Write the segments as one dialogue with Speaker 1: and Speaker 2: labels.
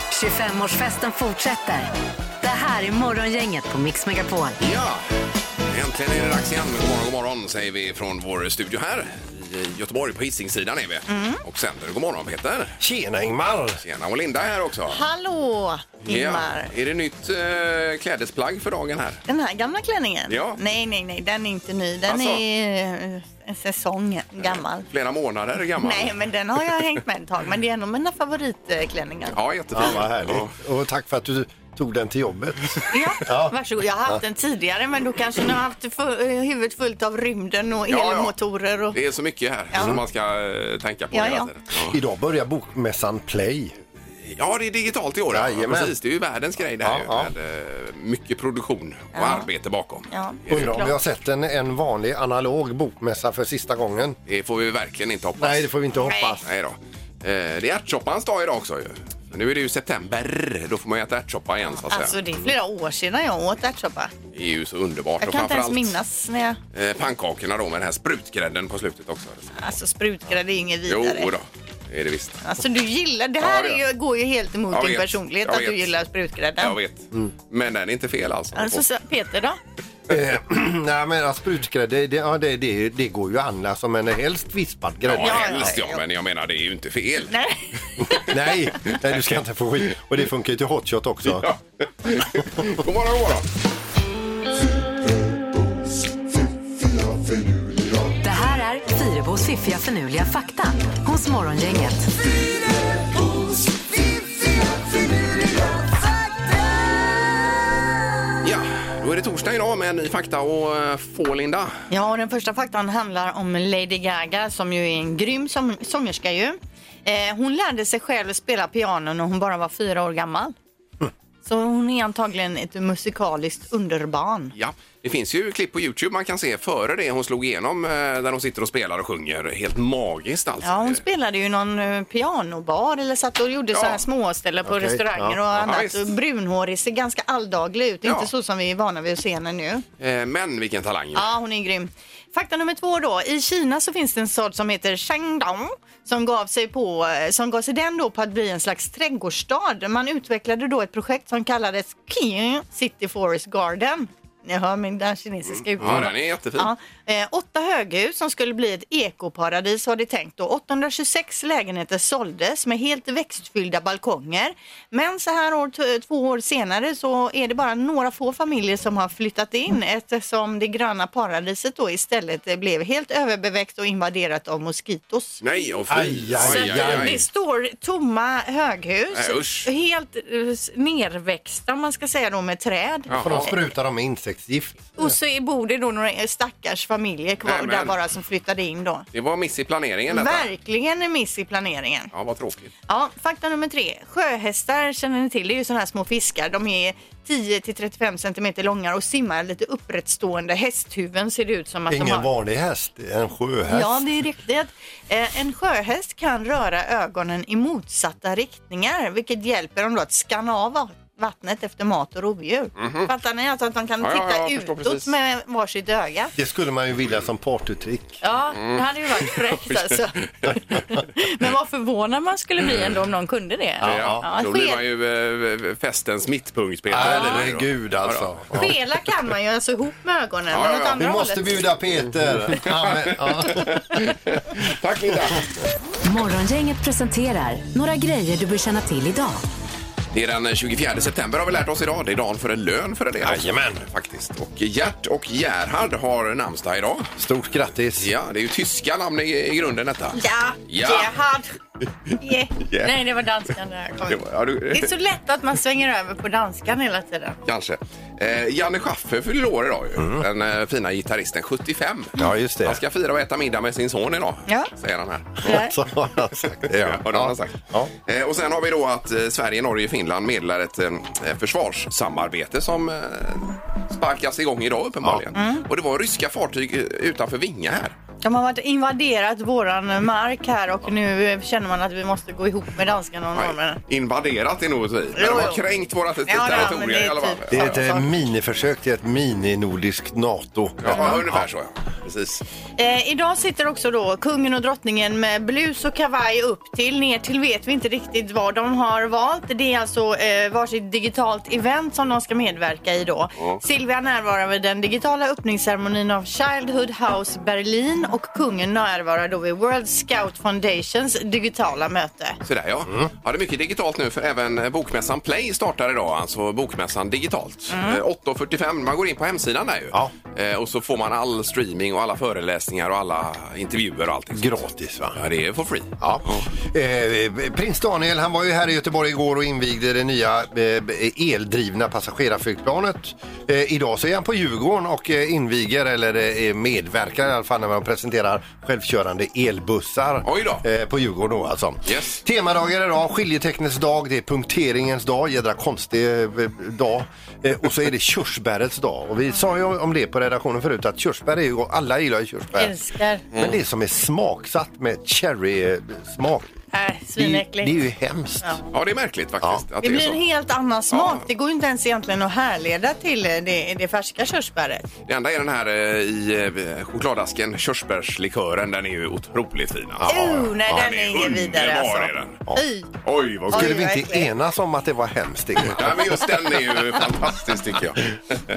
Speaker 1: 25-årsfesten fortsätter. Det här är Morgongänget på Mix Megapol.
Speaker 2: Ja, äntligen är det dags igen. God morgon, god morgon säger vi från vår studio här i Göteborg. På Hisingssidan är vi.
Speaker 3: Mm.
Speaker 2: Och sänder. God morgon Peter.
Speaker 4: Tjena Ingmar!
Speaker 2: Tjena, och Linda är här också.
Speaker 3: Hallå, Ingmar.
Speaker 2: Ja. Är det nytt eh, klädesplagg för dagen här?
Speaker 3: Den här gamla klänningen?
Speaker 2: Ja.
Speaker 3: Nej, nej, nej, den är inte ny. Den
Speaker 2: Alltså?
Speaker 3: är eh, en säsong gammal.
Speaker 2: Flera månader gammal.
Speaker 3: Nej, men den har jag hängt med ett tag. Men det är en av mina favoritklänningar.
Speaker 2: Ja, jättefin.
Speaker 4: Ja, vad härligt. Och tack för att du tog den till jobbet.
Speaker 3: Ja, varsågod. Jag har haft den tidigare, men då kanske ni har haft fu- eh, huvudet fullt av rymden och
Speaker 2: Ja, ja.
Speaker 3: elmotorer och...
Speaker 2: Det är så mycket här
Speaker 3: Ja.
Speaker 2: som man ska eh, tänka på
Speaker 3: Ja,
Speaker 2: hela
Speaker 3: ja.
Speaker 2: tiden.
Speaker 4: Idag börjar bokmässan Play.
Speaker 2: Ja, det är digitalt i år. Ja,
Speaker 4: Jajamän.
Speaker 2: precis. Det är ju världens grej det här.
Speaker 4: Ja,
Speaker 2: ju, Med, eh, mycket produktion och arbete bakom.
Speaker 3: Ja.
Speaker 2: Det är det ju.
Speaker 4: Undrar om vi har sett en, en vanlig analog bokmässa för sista gången.
Speaker 2: Det får vi verkligen inte hoppas.
Speaker 4: Nej, det får vi inte hoppas.
Speaker 2: Nej då. Eh, Det är ärtsoppans dag idag också ju. Men nu är det ju september, då får man ju äta ärtsoppa igen så att säga.
Speaker 3: Alltså, det är flera år sedan jag åt ärtsoppa.
Speaker 2: Det är ju så underbart.
Speaker 3: Jag
Speaker 2: Och
Speaker 3: kan inte ens
Speaker 2: framförallt,
Speaker 3: minnas när jag...
Speaker 2: eh, Pannkakorna då med den här sprutgrädden på slutet också.
Speaker 3: Alltså, sprutgrädde är inget
Speaker 2: Jo
Speaker 3: vidare.
Speaker 2: då, det är det visst.
Speaker 3: Alltså du gillar, det
Speaker 2: Ja,
Speaker 3: här
Speaker 2: det
Speaker 3: är
Speaker 2: gör
Speaker 3: ju, går ju helt emot
Speaker 2: Jag
Speaker 3: din
Speaker 2: vet.
Speaker 3: personlighet
Speaker 2: Jag
Speaker 3: att du
Speaker 2: vet.
Speaker 3: gillar sprutgrädden.
Speaker 2: Jag vet. Men den är inte fel alltså.
Speaker 3: Alltså så- Peter då?
Speaker 4: Eh, Nej men alltså, sprutgrädde, det, ja, det, det, det går ju att handla som en helst vispad grädde.
Speaker 2: Ja,
Speaker 3: Ja,
Speaker 2: helst ja,
Speaker 3: ja, ja.
Speaker 2: men jag menar det är ju inte fel.
Speaker 3: Nej.
Speaker 4: Nej, nej, du ska inte få skit. Och det funkar ju till hotshot också.
Speaker 2: Ja. god morgon, god morgon.
Speaker 1: Det här är Fyrebos fiffiga förnuliga fakta hos Morgongänget.
Speaker 2: Ja, då är det torsdag idag med ny fakta och eh, få Linda.
Speaker 3: Ja, och den första faktan handlar om Lady Gaga som ju är en grym som, sångerska ju. Eh, hon lärde sig själv att spela piano när hon bara var fyra år gammal. Så hon är antagligen ett musikaliskt underbarn.
Speaker 2: Ja, det finns ju klipp på Youtube man kan se före det hon slog igenom eh, där hon sitter och spelar och sjunger. Helt magiskt alltså.
Speaker 3: Ja, hon spelade ju någon eh, pianobar eller satt och gjorde
Speaker 2: Ja.
Speaker 3: så här småställen på
Speaker 4: Okej,
Speaker 3: restauranger
Speaker 4: ja.
Speaker 3: och
Speaker 2: Ja,
Speaker 3: annat.
Speaker 2: visst.
Speaker 3: Och Brunhårig ser ganska alldaglig ut,
Speaker 2: Ja.
Speaker 3: inte så som vi är vana vid att se henne nu.
Speaker 2: Eh, Men vilken talang ju.
Speaker 3: Ja, hon är grym. Fakta nummer två då. I Kina så finns det en sort som heter Shangdong som gav sig, på, eh, som gav sig den då på att bli en slags trädgårdsstad. Man utvecklade då ett projekt som kallades Qing City Forest Garden. Ni hör min den kinesiska
Speaker 2: Mm. Ja,
Speaker 3: uttala.
Speaker 2: den är jättefin.
Speaker 3: Ja, eh, åtta höghus som skulle bli ett ekoparadis har de tänkt då. 826 lägenheter såldes med helt växtfyllda balkonger. Men så här år, t- två år senare så är det bara några få familjer som har flyttat in
Speaker 4: Mm.
Speaker 3: eftersom det gröna paradiset då istället eh, blev helt överbeväxt och invaderat av moskitos.
Speaker 2: Nej, och fy.
Speaker 4: Aj, aj,
Speaker 3: Så
Speaker 4: aj, Äh,
Speaker 3: att Det står tomma höghus,
Speaker 2: Nej, usch.
Speaker 3: helt eh, nerväxta om man ska säga då med träd.
Speaker 2: Ja.
Speaker 4: För de sprutar dem med insektsgift.
Speaker 3: Och så är- bor det då några stackars familjer kvar
Speaker 2: Nämen.
Speaker 3: där bara som flyttade in då.
Speaker 2: Det var miss i planeringen detta.
Speaker 3: Verkligen en miss i planeringen.
Speaker 2: Ja, vad tråkigt.
Speaker 3: Ja, fakta nummer tre. Sjöhästar känner ni till, det är ju sådana här små fiskar. De är 10 till 35 centimeter långa och simmar lite upprättstående. Hästhuvuden ser det ut som att de
Speaker 4: Ingen
Speaker 3: har.
Speaker 4: vanlig häst, en sjöhäst.
Speaker 3: Alltså, Ja, det är riktigt. Eh, En sjöhäst kan röra ögonen i motsatta riktningar, vilket hjälper dem då att skanna av va- vattnet efter mat och rovdjur. Fattar ni? Alltså att de kan
Speaker 2: Mhm. Ja, ja,
Speaker 3: titta
Speaker 2: ja, jag förstår
Speaker 3: utåt
Speaker 2: precis.
Speaker 3: med varsitt öga.
Speaker 4: Det skulle man ju vilja som partytrick.
Speaker 3: Ja,
Speaker 2: Mm.
Speaker 3: det hade ju varit fräckt alltså. Men vad förvånad man skulle bli ändå om någon kunde det.
Speaker 2: Ja,
Speaker 3: Ja,
Speaker 2: Då
Speaker 3: ske-
Speaker 2: blir man ju eh, festens mittpunkt, Peter.
Speaker 4: Herregud alltså. Ja.
Speaker 3: Skela kan man ju alltså ihop med ögonen.
Speaker 2: Ja,
Speaker 3: men
Speaker 2: ja,
Speaker 3: åt
Speaker 2: ja.
Speaker 3: andra
Speaker 4: Vi måste
Speaker 3: hållet-
Speaker 4: bjuda Peter. Ja, men, ja.
Speaker 2: Tack, Linda.
Speaker 1: Morgongänget presenterar några grejer du bör känna till idag.
Speaker 2: Det är den 24 september har vi lärt oss idag. Det är dagen för en lön för en del. också,
Speaker 4: Jajamän.
Speaker 2: Faktiskt. Och Gert och Gerhard har namnsdag idag.
Speaker 4: Stort grattis.
Speaker 2: Ja, det är ju tyska namn i, i grunden detta.
Speaker 3: Ja,
Speaker 2: Ja.
Speaker 3: Gerhard. Yeah.
Speaker 2: Yeah.
Speaker 3: Nej, det var danskan där.
Speaker 2: Det var- ja, du-
Speaker 3: Det är så lätt att man svänger över på danskan hela tiden.
Speaker 2: Kanske. Eh, Janne Schaffer fyller år idag ju. Den eh, fina gitarristen, 75.
Speaker 4: Mm. Ja, just det.
Speaker 2: Han ska fira och äta middag med sin son idag,
Speaker 3: Ja.
Speaker 2: säger han här.
Speaker 4: Så har han sagt det.
Speaker 2: Ja, det har han sagt.
Speaker 4: Ja.
Speaker 2: Eh, och sen har vi då att eh, Sverige, Norge och Finland meddelar ett eh, försvarssamarbete som eh, sparkas igång idag uppenbarligen.
Speaker 3: Mm.
Speaker 2: Och det var ryska fartyg eh, utanför Vinga här.
Speaker 3: De har varit invaderat våran mark här och nu eh, känner man att vi måste gå ihop med danskarna och norrmännen.
Speaker 2: Invaderat är nog ett ord. Men
Speaker 3: Jo,
Speaker 2: de har
Speaker 3: jo.
Speaker 2: kränkt våra
Speaker 3: Ja, det har- men det
Speaker 2: territorier
Speaker 3: är
Speaker 2: i alla fall.
Speaker 3: typ-
Speaker 4: Det är
Speaker 2: Ja,
Speaker 4: ett eh, miniförsök till ett mini-nordiskt NATO.
Speaker 2: ja, ungefär så. ja. Precis.
Speaker 3: Eh, idag sitter också då kungen och drottningen med blus och kavaj upp till, ner till vet vi inte riktigt vad de har valt. Det är alltså eh, varsitt digitalt event som de ska medverka i då. Silvia närvarar vid den digitala öppningsceremonin av Childhood House Berlin och kungen närvarar då vid World Scout Foundations digitala möte.
Speaker 2: Sådär ja. ja. Det är mycket digitalt nu för även eh, bokmässan Play startar idag, alltså bokmässan digitalt. Eh, 8.45, man går in på hemsidan där ju.
Speaker 4: Ja.
Speaker 2: Eh, Och så får man all streaming och alla föreläsningar och alla intervjuer och allting.
Speaker 4: Gratis va?
Speaker 2: Ja, det är for free.
Speaker 4: Ja. Eh, prins Daniel han var ju här i Göteborg igår och invigde det nya eh, eldrivna passagerarflygplanet. Eh, idag så är han på Djurgården och eh, inviger eller eh, medverkar i alla fall när man presenterar självkörande elbussar
Speaker 2: Oj då.
Speaker 4: Eh, på Djurgården. Då, alltså.
Speaker 2: Yes.
Speaker 4: Temadagar idag, skiljetecknets dag, det är punkteringens dag, jädra konstig eh, dag. Eh, och så är det körsbärets dag. Och vi sa ju om det på redaktionen förut att körsbär är ju, alla gillar ju körsbär.
Speaker 3: Älskar.
Speaker 4: Men det som är smaksatt med cherry-smak.
Speaker 3: Äh,
Speaker 4: Det, är-
Speaker 3: svinäckligt.
Speaker 4: det är ju hemskt.
Speaker 2: Ja, det är märkligt faktiskt. Att
Speaker 3: Det
Speaker 2: är
Speaker 3: blir
Speaker 2: så.
Speaker 3: en helt annan smak.
Speaker 2: Ja.
Speaker 3: Det går ju inte ens egentligen att härleda till eh, det, det färska körsbäret.
Speaker 2: Det enda är den här eh, i eh, chokladasken, körsbärslikören. Den är ju otroligt fin. alltså.
Speaker 3: Oh, nej, den är ingen vidare
Speaker 2: underbar,
Speaker 3: alltså.
Speaker 2: Är den.
Speaker 3: Oj.
Speaker 2: Oj, vad
Speaker 4: Skulle
Speaker 2: kul.
Speaker 3: Oj,
Speaker 4: vi inte
Speaker 3: verkligen.
Speaker 4: enas om att det var hemskt? Ingmar?
Speaker 2: Nej, men just den är ju fantastisk tycker jag.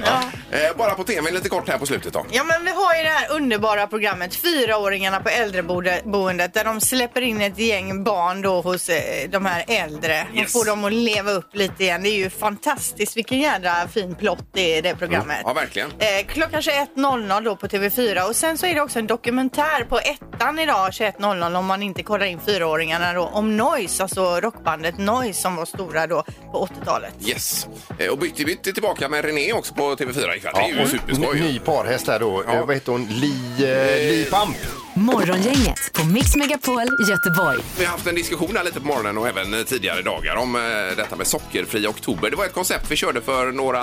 Speaker 2: Eh, Bara på tv lite kort här på slutet då.
Speaker 3: Ja, men vi har ju det här underbara programmet Fyraåringarna på äldreboendet där de släpper in ett gäng barn då hos eh, de här äldre och
Speaker 2: Yes.
Speaker 3: får dem att leva upp lite igen. Det är ju fantastiskt. Vilken jädra fin plott det är det programmet.
Speaker 2: Ja, verkligen.
Speaker 3: Eh, klockan 21.00 då på TV4 och sen så är det också en dokumentär på ettan idag 21.00 om man inte kollar in fyraåringarna då om Noise, alltså rockbandet Noise som var stora då på 80-talet.
Speaker 2: Yes. Eh, Och Bytti Bytti tillbaka med René också på TV4 ikväll. Det är ju superskoj.
Speaker 4: Ny, ny parhäst här då. Eh, Vad heter hon? Li, eh, Li Pamp.
Speaker 1: Morgongänget på Mix Megapol Göteborg.
Speaker 2: Vi har haft en diskussion här lite på morgonen och även eh, tidigare dagar om eh, detta med sockerfri oktober. Det var ett koncept vi körde för några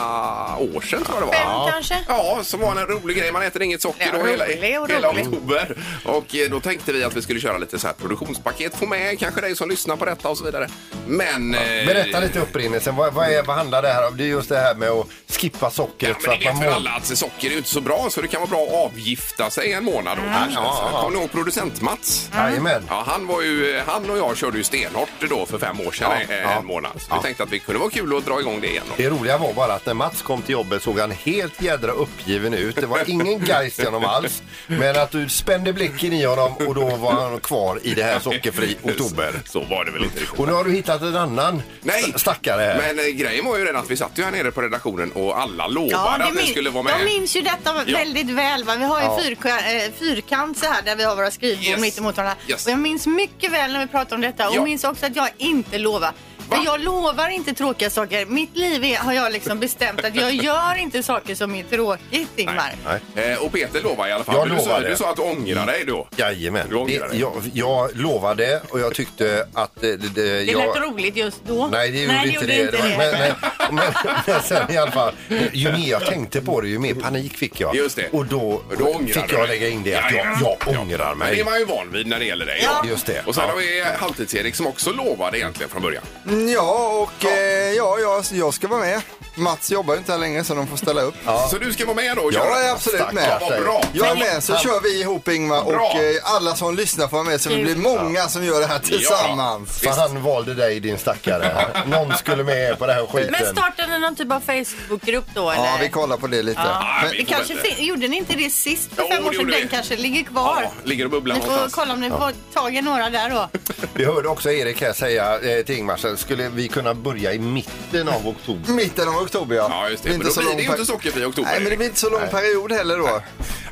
Speaker 2: år sedan tror jag det var.
Speaker 3: Fem kanske?
Speaker 2: Ja, som var en rolig grej. Man äter inget socker
Speaker 3: Ja,
Speaker 2: då hela,
Speaker 3: rolig och
Speaker 2: hela
Speaker 3: rolig.
Speaker 2: oktober. Och eh, då tänkte vi att vi skulle köra lite så här produktionspaket. Få med kanske dig som lyssnar på detta och så vidare. Men... eh,
Speaker 4: Berätta lite upprinnelsen. Vad, vad, är, vad handlar det här om? Det är just det här med att skippa
Speaker 2: Ja,
Speaker 4: sockret
Speaker 2: men det vet
Speaker 4: man
Speaker 2: väl
Speaker 4: mår-
Speaker 2: alla att socker är ju inte så bra så det kan vara bra att avgifta sig en månad. då kanske.
Speaker 4: Ja,
Speaker 2: Så,
Speaker 4: ja.
Speaker 2: Kommer ni ihåg producent-Mats?
Speaker 4: Jajamän.
Speaker 2: Ja, han, var ju, han och jag körde ju stenhårt då för fem år sedan,
Speaker 4: Ja,
Speaker 2: eh, en
Speaker 4: ja.
Speaker 2: månad. Så vi
Speaker 4: Ja.
Speaker 2: tänkte att det kunde vara kul att dra igång det igen. Då.
Speaker 4: Det roliga var bara att när Mats kom till jobbet såg han helt jädra uppgiven ut. Det var ingen geist i honom alls. Men att du spände blicken i honom och då var han kvar i det här sockerfri oktober.
Speaker 2: Så var det väl inte riktigt.
Speaker 4: Och nu har du hittat en annan
Speaker 2: Nej,
Speaker 4: st- stackare här.
Speaker 2: men eh, grejen var ju redan att vi satt ju här nere på redaktionen och alla lovade att vi
Speaker 3: min-
Speaker 2: skulle vara med.
Speaker 3: De minns ju detta
Speaker 2: Ja.
Speaker 3: väldigt väl. Va? Vi har ju fyrka, eh, fyrkant så här där vi har våra skrivbord
Speaker 2: Yes.
Speaker 3: mitt emot varandra.
Speaker 2: Yes.
Speaker 3: Och jag minns mycket väl när vi pratade om detta och
Speaker 2: Ja.
Speaker 3: minns också att jag inte lovar.
Speaker 2: Va?
Speaker 3: För jag lovar inte tråkiga saker. Mitt liv är, har jag liksom bestämt att jag gör inte saker som är tråkigt, Ingmar.
Speaker 4: Nej.
Speaker 2: Eh, Och Peter lovade i alla fall.
Speaker 4: Jag
Speaker 2: Men du, sa,
Speaker 4: lovade.
Speaker 2: du sa att du ångrar dig då.
Speaker 4: Jajamän.
Speaker 2: Du ångrar
Speaker 4: Det,
Speaker 2: dig.
Speaker 4: jag, jag lovade och jag tyckte att... eh, Det, det,
Speaker 3: Det lät
Speaker 4: jag,
Speaker 3: roligt just då.
Speaker 4: Nej, det gjorde inte det.
Speaker 3: Inte
Speaker 4: Det var-
Speaker 3: det.
Speaker 4: Men, men, men, men sen i alla fall, ju mer jag tänkte på det, ju mer panik fick jag.
Speaker 2: Just det.
Speaker 4: Och då,
Speaker 2: Och då ångrar
Speaker 4: fick
Speaker 2: du
Speaker 4: jag
Speaker 2: dig.
Speaker 4: lägga in det att
Speaker 2: Jajamän.
Speaker 4: jag, jag ångrar
Speaker 2: Men det är
Speaker 4: mig.
Speaker 2: man ju van vid när det gäller dig.
Speaker 3: Ja.
Speaker 4: Just det.
Speaker 2: Och sen
Speaker 4: Ja.
Speaker 2: har vi eh, Halvtids-Erik som också lovade egentligen från början.
Speaker 5: Mm, Ja, och ja. Eh, ja, jag, jag ska vara med. Mats jobbar ju inte här längre så de får ställa upp.
Speaker 2: Så du ska vara med då och köra?
Speaker 5: Jag är absolut
Speaker 4: Stackars
Speaker 5: med.
Speaker 2: Ja, vad bra.
Speaker 5: Jag är med, så kör vi ihop Ingmar
Speaker 2: Bra.
Speaker 5: och eh, alla som lyssnar får vara med så vi blir många som gör det här tillsammans.
Speaker 4: För han valde dig din stackare. Någon skulle med på den här
Speaker 3: men
Speaker 4: skiten.
Speaker 3: startade ni någon typ av Facebookgrupp då? Eller?
Speaker 5: Ja, vi kollar på det lite.
Speaker 2: Ja,
Speaker 5: Men,
Speaker 2: vi
Speaker 3: Det
Speaker 2: får
Speaker 3: kanske
Speaker 2: väl-
Speaker 3: fin- gjorde ni inte det sist för
Speaker 2: Jo,
Speaker 3: fem
Speaker 2: det
Speaker 3: år sedan?
Speaker 2: gjorde
Speaker 3: Den
Speaker 2: vi.
Speaker 3: kanske ligger kvar.
Speaker 2: Ja, ligger och bubblar
Speaker 3: Ni får
Speaker 2: någonstans.
Speaker 3: kolla om ni får tag i några där då.
Speaker 4: Vi hörde också Erik här säga eh, till Ingmar, så skulle vi kunna börja i mitten av oktober?
Speaker 5: mitten av oktober ja.
Speaker 2: Ja, just det.
Speaker 5: är
Speaker 2: Men då blir
Speaker 5: lång
Speaker 2: det ju
Speaker 5: per-
Speaker 2: inte sockerfri oktober,
Speaker 5: Nej, men det blir inte så lång period heller då.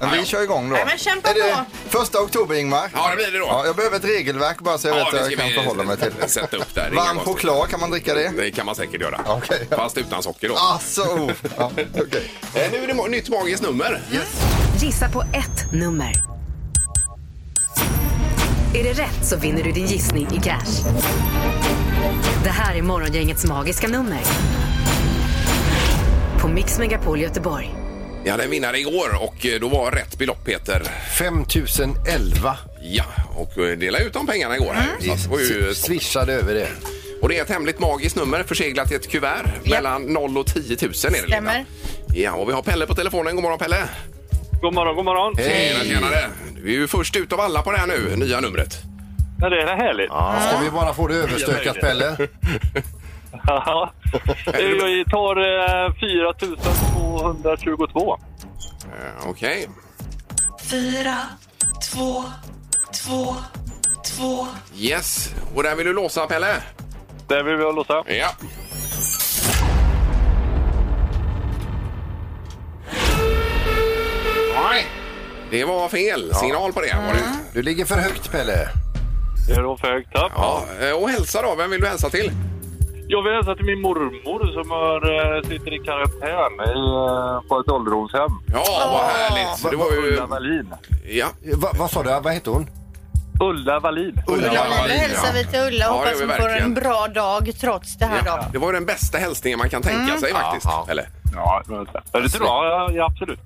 Speaker 5: Men vi kör igång då.
Speaker 3: Nej, men kämpa
Speaker 5: Är det
Speaker 3: på.
Speaker 5: Första oktober Ingmar.
Speaker 2: Ja, det blir det då.
Speaker 5: Ja, jag behöver ett regelverk bara så jag vet vad jag kan förhålla mig till.
Speaker 2: sätta upp där. Inga
Speaker 5: Varm
Speaker 2: konstigt.
Speaker 5: choklad, kan man dricka det?
Speaker 2: Det kan man säkert göra.
Speaker 5: Okej.
Speaker 2: Fast utan socker då.
Speaker 5: Alltså, oh. ja, okej.
Speaker 2: Eh, nu är det mo- nytt magiskt nummer.
Speaker 1: Gissa på ett nummer. Är det rätt så vinner du din gissning i cash. Det här är Morgongängets magiska nummer. På Mix Megapol Göteborg.
Speaker 2: Vi hade en vinnare igår och eh, då var rätt belopp Peter.
Speaker 4: 5011.
Speaker 2: Ja, och eh, dela ut de pengarna igår. här. Så
Speaker 5: Mm.
Speaker 2: att det var ju
Speaker 4: Vi swishade över det.
Speaker 2: Och det är ett hemligt magiskt nummer förseglat i ett kuvert. Mellan 0 och 10 000 är det Linda.
Speaker 3: Stämmer.
Speaker 2: Ja, och vi har Pelle på telefonen. God morgon Pelle!
Speaker 6: God morgon, god morgon.
Speaker 2: Tjena, tjenare! Du är ju först ut av alla på det här nu, nya numret.
Speaker 6: Ja, det är härligt.
Speaker 4: Ja, ska vi bara få det överstökat, Pelle?
Speaker 6: Ja. Jag tar eh, 4222.
Speaker 2: Eh, Okej. Yes, och där vill du låsa Pelle?
Speaker 6: Där vill vi ha låsa.
Speaker 2: Ja. Nej, det var fel signal på det. Var
Speaker 3: Mm.
Speaker 2: det.
Speaker 4: Du ligger för högt, Pelle.
Speaker 6: Det är då för högt upp.
Speaker 2: Ja, eh, och hälsa då, vem vill du hälsa till?
Speaker 6: Jag vill hälsa till min mormor som har, eh, sitter i karantän i, eh, på ett ålderdomshem.
Speaker 2: Ja, vad härligt! Det var ju...
Speaker 6: Ulla Wallin.
Speaker 2: Ja.
Speaker 4: Va, vad sa du? Vad hette hon?
Speaker 6: Ulla Wallin.
Speaker 2: Ulla
Speaker 3: Ja, nu
Speaker 2: Wallin,
Speaker 3: hälsar
Speaker 2: ja.
Speaker 3: vi till Ulla och
Speaker 2: Ja, det
Speaker 3: hoppas
Speaker 2: gör vi
Speaker 3: hon får
Speaker 2: verkligen.
Speaker 3: en bra dag trots det här
Speaker 2: Ja,
Speaker 3: då. Mm.
Speaker 2: det var ju den bästa hälsningen man kan tänka sig faktiskt.
Speaker 4: Ja, ja.
Speaker 2: Eller?
Speaker 6: Ja, det var det. Är det bra? Ja, ja, absolut.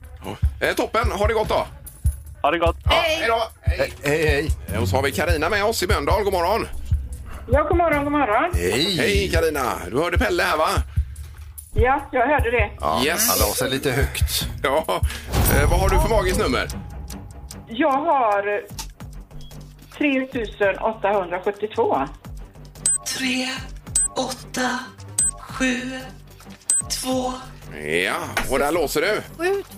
Speaker 2: Eh, toppen, ha det gott då!
Speaker 6: Ha det gott.
Speaker 3: Hej!
Speaker 2: Hej då! Hej.
Speaker 4: Hej, hej.
Speaker 2: Eh, Och så har vi Karina med oss i Mölndal. God morgon!
Speaker 7: Ja, god morgon, god morgon.
Speaker 4: Hej!
Speaker 2: Hej Karina! Du hörde Pelle här va?
Speaker 7: Ja, jag hörde det.
Speaker 4: Ja,
Speaker 2: Yes.
Speaker 4: Han la sig lite högt.
Speaker 2: Ja. Eh, vad har du för magiskt nummer?
Speaker 7: Jag har eh, 3872.
Speaker 8: 3, 8, 7, 2.
Speaker 2: Ja, och där låser du.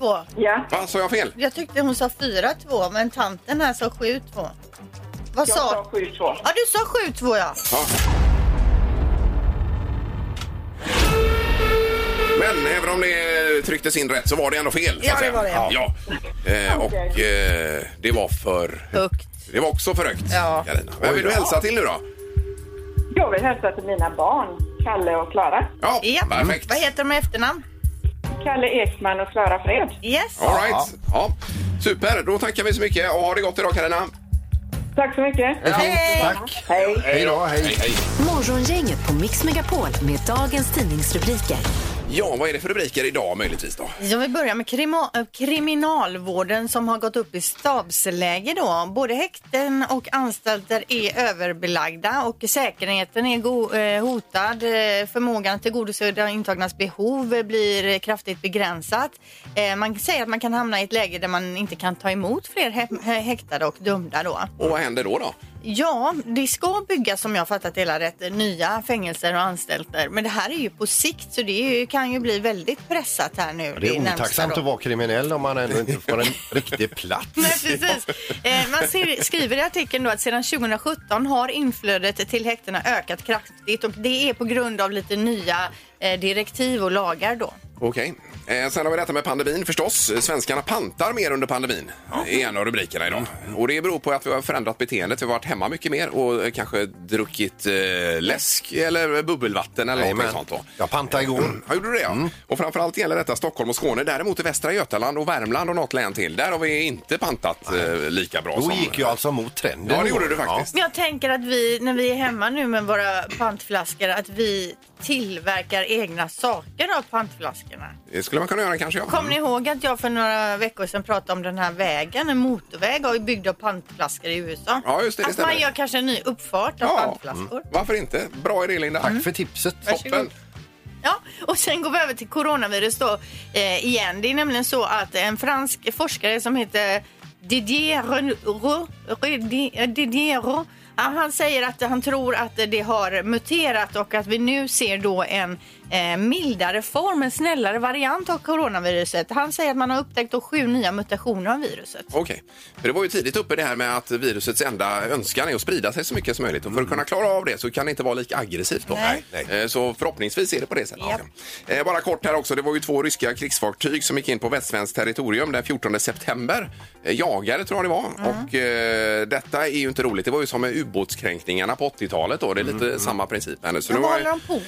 Speaker 3: 7-2.
Speaker 7: Ja,
Speaker 2: Va, sa jag fel?
Speaker 3: Jag tyckte hon sa 4-2 men tanten här sa 7-2. Vad
Speaker 7: jag sa
Speaker 3: sa
Speaker 7: 72.
Speaker 3: Ja, du sa 7-2 ja.
Speaker 2: Ja. Men även om det trycktes in rätt så var det ändå fel. så
Speaker 3: Ja,
Speaker 2: att säga.
Speaker 3: det var det, ja.
Speaker 2: ja. Eh, och eh, det var för...
Speaker 3: Högt.
Speaker 2: Det var också för högt,
Speaker 3: Ja.
Speaker 2: Carina. Vem vill du hälsa till nu då?
Speaker 7: Jag vill hälsa till mina barn, Kalle och Klara.
Speaker 2: Ja,
Speaker 3: Ja. Mm.
Speaker 2: perfekt.
Speaker 3: Vad heter de i efternamn?
Speaker 7: Kalle Ekman och Klara Fred.
Speaker 3: Yes.
Speaker 2: All right. Ja. Super, då tackar vi så mycket och ha det gott idag Carina.
Speaker 7: Tack så mycket.
Speaker 4: Hej! Tack!
Speaker 7: Hej.
Speaker 4: Hej då, hej.
Speaker 2: hej.
Speaker 1: Morgongänget på Mix Megapol med dagens tidningsrubriker.
Speaker 2: Ja, vad är det för rubriker idag möjligtvis då?
Speaker 3: Ja, vi börjar med krima- eh, kriminalvården som har gått upp i stabsläge då. Både häkten och anstalter är överbelagda och säkerheten är go- eh, hotad. Eh, Förmågan att tillgodose de intagnas behov eh, blir eh, kraftigt begränsat. Eh, Man säger att man kan hamna i ett läge där man inte kan ta emot fler hä- hä- häktade och dömda då.
Speaker 2: Och vad händer då då?
Speaker 3: Ja, det ska byggas som jag har fattat det hela rätt nya fängelser och anstalter. Men det här är ju på sikt så det är ju, kan ju bli väldigt pressat här nu.
Speaker 4: Det är
Speaker 3: närmsta
Speaker 4: otacksamt
Speaker 3: då.
Speaker 4: att vara kriminell om man ändå inte får en riktig plats.
Speaker 3: Nej, precis. Eh, Man ser, skriver i artikeln då att sedan 2017 har inflödet till häktena ökat kraftigt och det är på grund av lite nya eh, direktiv och lagar då.
Speaker 2: Okej. Eh, sen har vi detta med pandemin förstås. Svenskarna pantar mer under pandemin. Det är en av rubrikerna idag. Och det beror på att vi har förändrat beteendet. Vi har varit hemma mycket mer och eh, kanske druckit eh, läsk eller bubbelvatten eller någonting
Speaker 4: Jajamän. Mm.
Speaker 2: sånt då.
Speaker 4: Jag pantade igår.
Speaker 2: Ja, gjorde du det? Ja. Och framförallt gäller detta Stockholm och Skåne. Däremot i Västra Götaland och Värmland och något län till, där har vi inte pantat eh, lika bra
Speaker 4: Då
Speaker 2: som...
Speaker 4: gick jag alltså mot trenden.
Speaker 2: Ja, det
Speaker 4: i
Speaker 2: gjorde
Speaker 4: år.
Speaker 2: du faktiskt.
Speaker 3: Men jag tänker att vi, när vi är hemma nu med våra pantflaskor, att vi tillverkar egna saker av pantflaskorna.
Speaker 2: Det eh, skulle man kunna göra kanske, ja.
Speaker 3: Kommer ni ihåg att jag för några veckor sedan pratade om den här vägen, en motorväg och byggd av pantflaskor i USA?
Speaker 2: Ja, just det, det
Speaker 3: att
Speaker 2: stämmer.
Speaker 3: man gör kanske en ny uppfart av
Speaker 2: Ja. Mm.
Speaker 3: pantflaskor.
Speaker 2: Varför inte? Bra idé, Linda.
Speaker 4: Tack för tipset.
Speaker 2: Toppen.
Speaker 3: Ja, och sen går vi över till coronavirus då eh, igen. Det är nämligen så att en fransk forskare som heter Didier Ro- Ro- eh, Didier Ro- ja, han säger att han tror att det har muterat och att vi nu ser då en eh, mildare form, en snällare variant av coronaviruset. Han säger att man har upptäckt då sju nya mutationer av viruset.
Speaker 2: Okej. För det var ju tidigt uppe det här med att virusets enda önskan är att sprida sig så mycket som möjligt. Och för att kunna klara av det så kan det inte vara lika aggressivt då.
Speaker 3: Nej.
Speaker 2: Eh, Så förhoppningsvis är det på det sättet.
Speaker 3: Japp.
Speaker 2: Eh, Bara kort här också. Det var ju två ryska krigsfartyg som gick in på västsvenskt territorium den 14 september. Eh, Jagare tror jag det var. Och eh, detta är ju inte roligt. Det var ju som med ubåtskränkningarna på 80-talet då. Det är lite samma princip. här nu. Så
Speaker 3: Men
Speaker 2: nu
Speaker 3: vad
Speaker 2: har-
Speaker 3: håller de på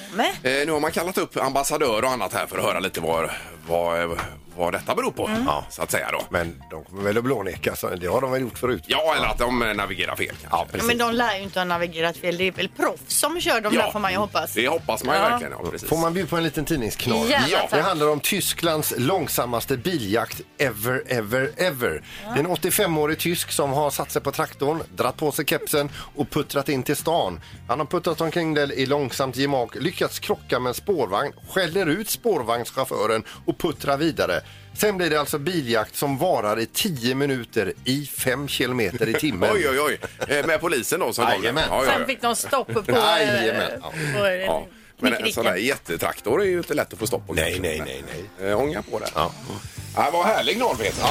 Speaker 3: med?
Speaker 2: Eh, nu har man kallat upp ambassadör och annat här för att höra lite vad, vad, vad detta beror på.
Speaker 3: Mm.
Speaker 2: Ja, så att säga då.
Speaker 4: Men de kommer väl att blåneka, så det har de väl gjort förut?
Speaker 2: Ja, eller att de eh, navigerar fel. kanske.
Speaker 3: Ja, men de lär ju inte ha navigerat fel. Det är väl proffs som kör de där får man ju hoppas.
Speaker 2: Det hoppas man ju
Speaker 3: Ja.
Speaker 2: verkligen. Ja, precis.
Speaker 4: Mm. Får man bjuda på en liten tidningsknorr?
Speaker 3: Gärna,
Speaker 2: Ja,
Speaker 3: tack.
Speaker 4: Det handlar om Tysklands långsammaste biljakt ever, ever, ever. Det är en 85-årig tysk som har satt sig på traktorn, dratt på sig kepsen och puttrat in till stan. Han har puttrat omkring där i långsamt gemak, lyckats krocka med en spårvagn, skäller ut spårvagnschauffören och puttrar vidare. vidare. Sen blir det alltså biljakt som varar i 10 minuter i 5 kilometer i timmen.
Speaker 2: Oj, oj, oj. Eh, Med polisen då som kom?
Speaker 4: Jajamän.
Speaker 2: Ja, ja,
Speaker 9: Sen
Speaker 2: ja.
Speaker 9: fick de stopp på... eh, på eh,
Speaker 4: Jajamän. Ja.
Speaker 2: Ja. Men en sån där jättetraktor är ju inte lätt att få stopp på.
Speaker 4: Nej,
Speaker 2: kanske.
Speaker 4: nej, nej,
Speaker 2: Eh, Ånga på det. Ja. vad härlig gnål, Peter.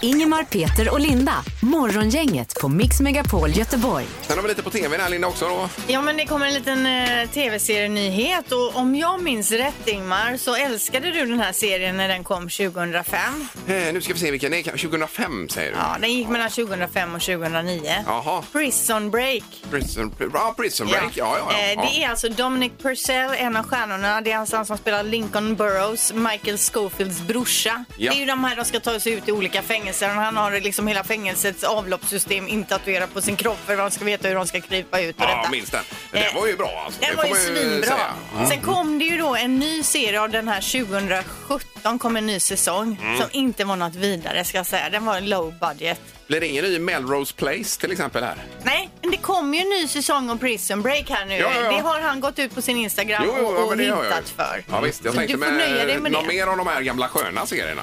Speaker 1: Ingemar, Peter och Linda. Morgongänget på Mix Megapol Göteborg.
Speaker 2: Sen har vi lite på tv här, Linda, också. Då.
Speaker 3: Ja, men det kommer en liten eh, tv-serienyhet och om jag minns rätt Ingmar så älskade du den här serien när den kom 2005.
Speaker 2: Eh, nu ska vi se vilken det är. 2005 säger du?
Speaker 3: Ja, den gick mellan 2005 och 2009.
Speaker 2: Jaha.
Speaker 3: Prison Break.
Speaker 2: Prison, ja, prison break. Ja, ja, ja,
Speaker 3: Eh,
Speaker 2: ja.
Speaker 3: Det är alltså Dominic Purcell, en av stjärnorna. Det är alltså han som spelar Lincoln Burrows, Michael Schofields brorsa.
Speaker 2: Ja.
Speaker 3: Det är ju de här de ska ta sig ut i olika fängelser. Och han har liksom hela fängelsets avloppssystem intatuerat på sin kropp för att de ska veta hur de ska krypa ut och
Speaker 2: Ja,
Speaker 3: detta.
Speaker 2: minns den. Den
Speaker 3: Eh,
Speaker 2: var ju bra alltså.
Speaker 3: Den
Speaker 2: Det
Speaker 3: var ju
Speaker 2: får man
Speaker 3: svinbra.
Speaker 2: säga. Mm.
Speaker 3: Sen kom det ju då en ny serie av den här 2017 kom en ny säsong
Speaker 2: Mm.
Speaker 3: som inte var något vidare ska jag säga. Den var low budget.
Speaker 2: Blir det ingen ny Melrose Place till exempel här?
Speaker 3: Nej, men det kommer ju en ny säsong om Prison Break här nu.
Speaker 2: Ja, ja, ja.
Speaker 3: Det har han gått ut på sin Instagram
Speaker 2: Jo, jo,
Speaker 3: och,
Speaker 2: ja,
Speaker 3: och
Speaker 2: men det har jag
Speaker 3: hintat
Speaker 2: ju.
Speaker 3: för.
Speaker 2: Ja, visst. Jag
Speaker 3: Så
Speaker 2: tänkte
Speaker 3: du får nöja dig
Speaker 2: någon
Speaker 3: med det. Mm.
Speaker 2: mer av de här gamla sköna serierna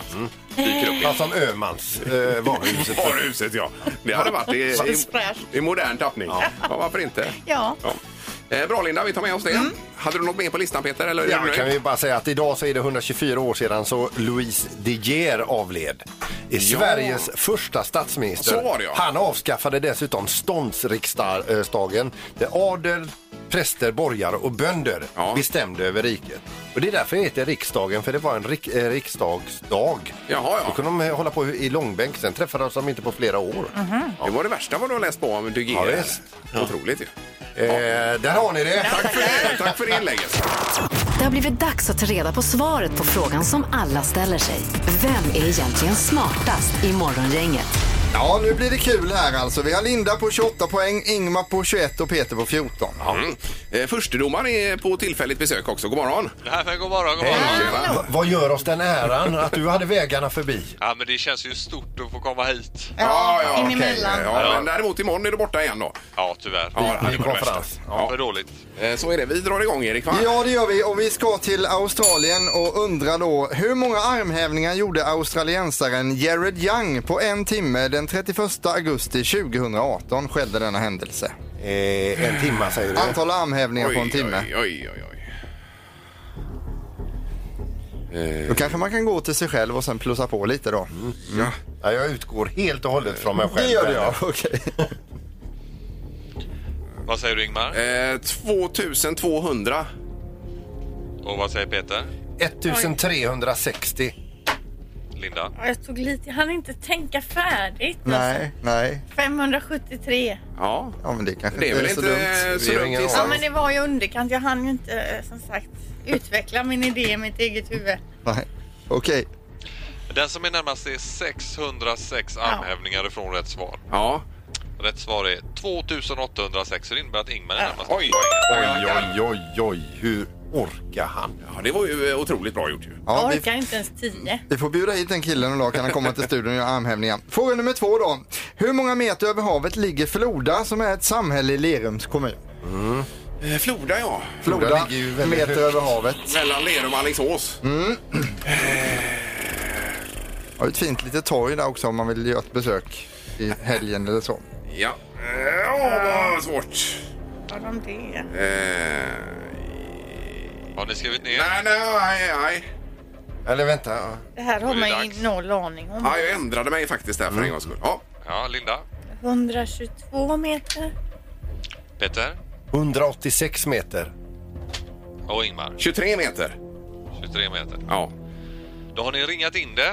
Speaker 2: dyker upp. i-
Speaker 4: Fast som Alltså, Öhmans eh, varuhuset.
Speaker 2: Varuhuset, ja. Det hade varit i,
Speaker 3: Så
Speaker 2: i,
Speaker 3: fräscht.
Speaker 2: i modern tappning. Ja. varför inte?
Speaker 3: Ja. Mm.
Speaker 2: Eh, Bra, Linda. Vi tar med oss det. Hade du något mer på listan, Peter? Eller är du
Speaker 4: Ja,
Speaker 2: nöjd?
Speaker 4: kan vi bara säga att idag så är det 124 år sedan så Louise De Geer avled. I Sveriges första statsminister.
Speaker 2: Så var det, ja.
Speaker 4: Han avskaffade dessutom ståndsriksdagen där adel, präster, borgare och bönder
Speaker 2: Ja.
Speaker 4: bestämde över riket. Och det är därför det heter riksdagen, för det var en rik, eh, riksdagsdag.
Speaker 2: Jaha,
Speaker 4: Då
Speaker 2: ja.
Speaker 4: kunde de hålla på i långbänk, sen träffades de inte på flera år.
Speaker 2: Det var det värsta vad du har läst på om De
Speaker 4: Ja,
Speaker 2: Geer.
Speaker 4: visst.
Speaker 2: Otroligt ju.
Speaker 4: Eh, där har ni det!
Speaker 2: Tack för det. Tack för det inlägget.
Speaker 1: Det har blivit dags att ta reda på svaret på frågan som alla ställer sig. Vem är egentligen smartast i Morgongänget?
Speaker 5: Ja, nu blir det kul här alltså. Vi har Linda på 28 poäng, Ingmar på 21 och Peter på 14.
Speaker 2: Mm. Eh, Förstedomaren är på tillfälligt besök också. God morgon.
Speaker 6: Nej, men god morgon, god morgon.
Speaker 4: Va- Vad gör oss den äran att du hade vägarna förbi?
Speaker 6: Ja, men det känns ju stort att få komma hit.
Speaker 2: Ja, ja,
Speaker 3: in
Speaker 2: okej.
Speaker 3: emellan.
Speaker 2: Ja, men däremot imorgon är du borta igen då.
Speaker 6: Ja, tyvärr.
Speaker 2: Ja, det hade
Speaker 4: Ny
Speaker 2: varit det
Speaker 4: konferens.
Speaker 2: värsta.
Speaker 6: För
Speaker 2: Ja.
Speaker 6: dåligt.
Speaker 2: Eh, Så är det. Vi drar igång, Erik. Va?
Speaker 5: Ja, det gör vi och vi ska till Australien och undrar då hur många armhävningar gjorde australiensaren Jared Young på en timme den 31 augusti 2018 skedde denna händelse.
Speaker 4: Eh, en timma säger du?
Speaker 5: Antal armhävningar på en timme.
Speaker 2: Oj, oj, oj, oj.
Speaker 5: Då kanske man kan gå till sig själv och sen plussa på lite då.
Speaker 2: Mm,
Speaker 4: Ja, jag utgår helt och hållet från mig själv.
Speaker 5: Det gör det ja, okej.
Speaker 6: Vad säger du Ingmar?
Speaker 2: Eh, 2200. Eh.
Speaker 6: Och vad säger Peter?
Speaker 4: 1360.
Speaker 6: Linda?
Speaker 9: Ja, Jag tog lite... Jag hann inte tänka färdigt.
Speaker 5: Nej, nej.
Speaker 3: 573.
Speaker 2: Ja.
Speaker 5: Ja, men det kanske
Speaker 2: Det är
Speaker 5: inte
Speaker 2: väl
Speaker 5: är
Speaker 2: inte så
Speaker 5: så dumt.
Speaker 4: Vi har
Speaker 2: dumt
Speaker 4: ingen
Speaker 3: Ja,
Speaker 2: gissat.
Speaker 3: men det var ju underkant. Jag hann ju inte eh, som sagt utveckla min idé i mitt eget huvud.
Speaker 5: Nej. Okej.
Speaker 6: Den som är närmast är 606 armhävningar ifrån rätt svar.
Speaker 2: Ja.
Speaker 6: Rätt svar är 2806 så det innebär att Ingmar är närmast.
Speaker 2: Oj,
Speaker 4: Oj, oj, oj, oj. Hur orkar han?
Speaker 2: Ja, det var ju eh, otroligt bra gjort ju.
Speaker 5: Ja,
Speaker 3: jag
Speaker 5: vi-
Speaker 3: orkar inte ens 10.
Speaker 5: Vi får bjuda hit den killen och då kan han komma till studion och göra armhävningar. Fråga nummer två då. Hur många meter över havet ligger Floda som är ett samhälle i Lerums kommun?
Speaker 2: Eh, Floda, ja.
Speaker 5: Floda,
Speaker 4: ligger ju väldigt
Speaker 5: meter
Speaker 4: högt.
Speaker 5: över havet.
Speaker 2: Mellan Lerum och Alingsås.
Speaker 5: Har ett fint litet torg där också om man vill göra ett besök i helgen eller så.
Speaker 2: Ja. Eh, Åh, vad svårt.
Speaker 3: Vad om det?
Speaker 2: Eh,
Speaker 6: Har ni skrivit ner?
Speaker 2: nej, nej, nej, nej.
Speaker 4: Eller vänta. ja.
Speaker 3: Det här har
Speaker 6: Då är det
Speaker 3: man ju
Speaker 6: dags.
Speaker 3: noll aning om.
Speaker 2: Ja, jag ändrade mig faktiskt där för en gångs skull. Ja.
Speaker 6: Ja, Linda?
Speaker 3: 122 meter.
Speaker 6: Peter?
Speaker 4: 186 meter.
Speaker 6: Och Ingmar?
Speaker 2: 23 meter.
Speaker 6: 23 meter.
Speaker 2: Ja.
Speaker 6: Då har ni ringat in det.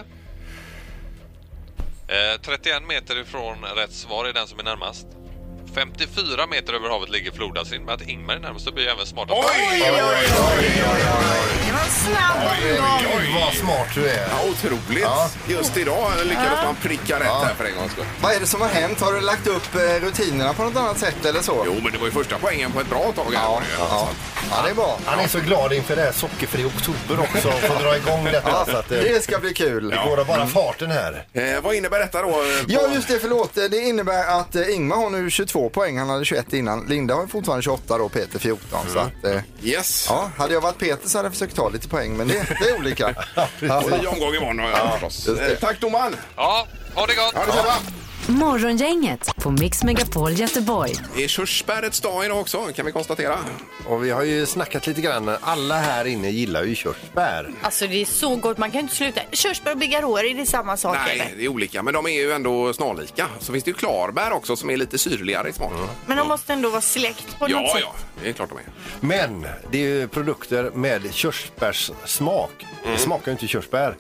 Speaker 6: Eh, 31 meter ifrån rätt svar är den som är närmast. 54 meter över havet ligger Floda, så det innebär att Ingmar är närmast och blir även smartast.
Speaker 2: Oj, oj, oj.
Speaker 3: Det var en snabb omgång.
Speaker 4: Gud vad smart du är.
Speaker 2: Ja, otroligt. Just idag lyckades man pricka rätt här för en gångs skull.
Speaker 5: Vad är det som har hänt? Har du lagt upp eh, rutinerna på något annat sätt eller så?
Speaker 2: Jo, men det var ju första poängen på ett bra tag. Här, var det ju.
Speaker 5: Ja, ja det är bra.
Speaker 4: Han är så glad inför det här sockerfri oktober också och får dra igång detta. Så att, eh,
Speaker 5: Det ska bli kul.
Speaker 4: det går av bara farten här.
Speaker 2: Eh, vad innebär detta då? eh, på-
Speaker 5: Ja, just det, förlåt. Det innebär att eh, Ingmar har nu 22 22 poäng, han hade 21 innan. Linda har ju fortfarande 28 då, Peter 14. Så
Speaker 4: Mm.
Speaker 5: att, eh,
Speaker 2: Yes.
Speaker 5: ja, hade jag varit Peter så hade jag försökt ta lite poäng, men det, det är olika.
Speaker 2: Och ny omgång imorgon har jag förstås.
Speaker 5: just det.
Speaker 2: Eh, Tack domaren!
Speaker 6: Ja, ha det gott!
Speaker 2: Ha det så bra!
Speaker 1: Morgongänget på Mix Megapol Göteborg.
Speaker 2: Det är körsbärets dag idag också kan vi konstatera.
Speaker 4: Och vi har ju snackat lite grann. Alla här inne gillar ju körsbär.
Speaker 3: Alltså det är så gott, man kan ju inte sluta. Körsbär och bigarråer, är det samma sak
Speaker 2: Nej,
Speaker 3: eller?
Speaker 2: det är olika men de är ju ändå snarlika. Så finns det ju klarbär också som är lite syrligare i smaken.
Speaker 3: Men de måste ändå vara släkt på något
Speaker 2: Ja,
Speaker 3: sätt.
Speaker 2: ja, det är klart de är.
Speaker 4: Men det är ju produkter med körsbärssmak.
Speaker 5: Mm.
Speaker 4: Det smakar ju inte körsbär.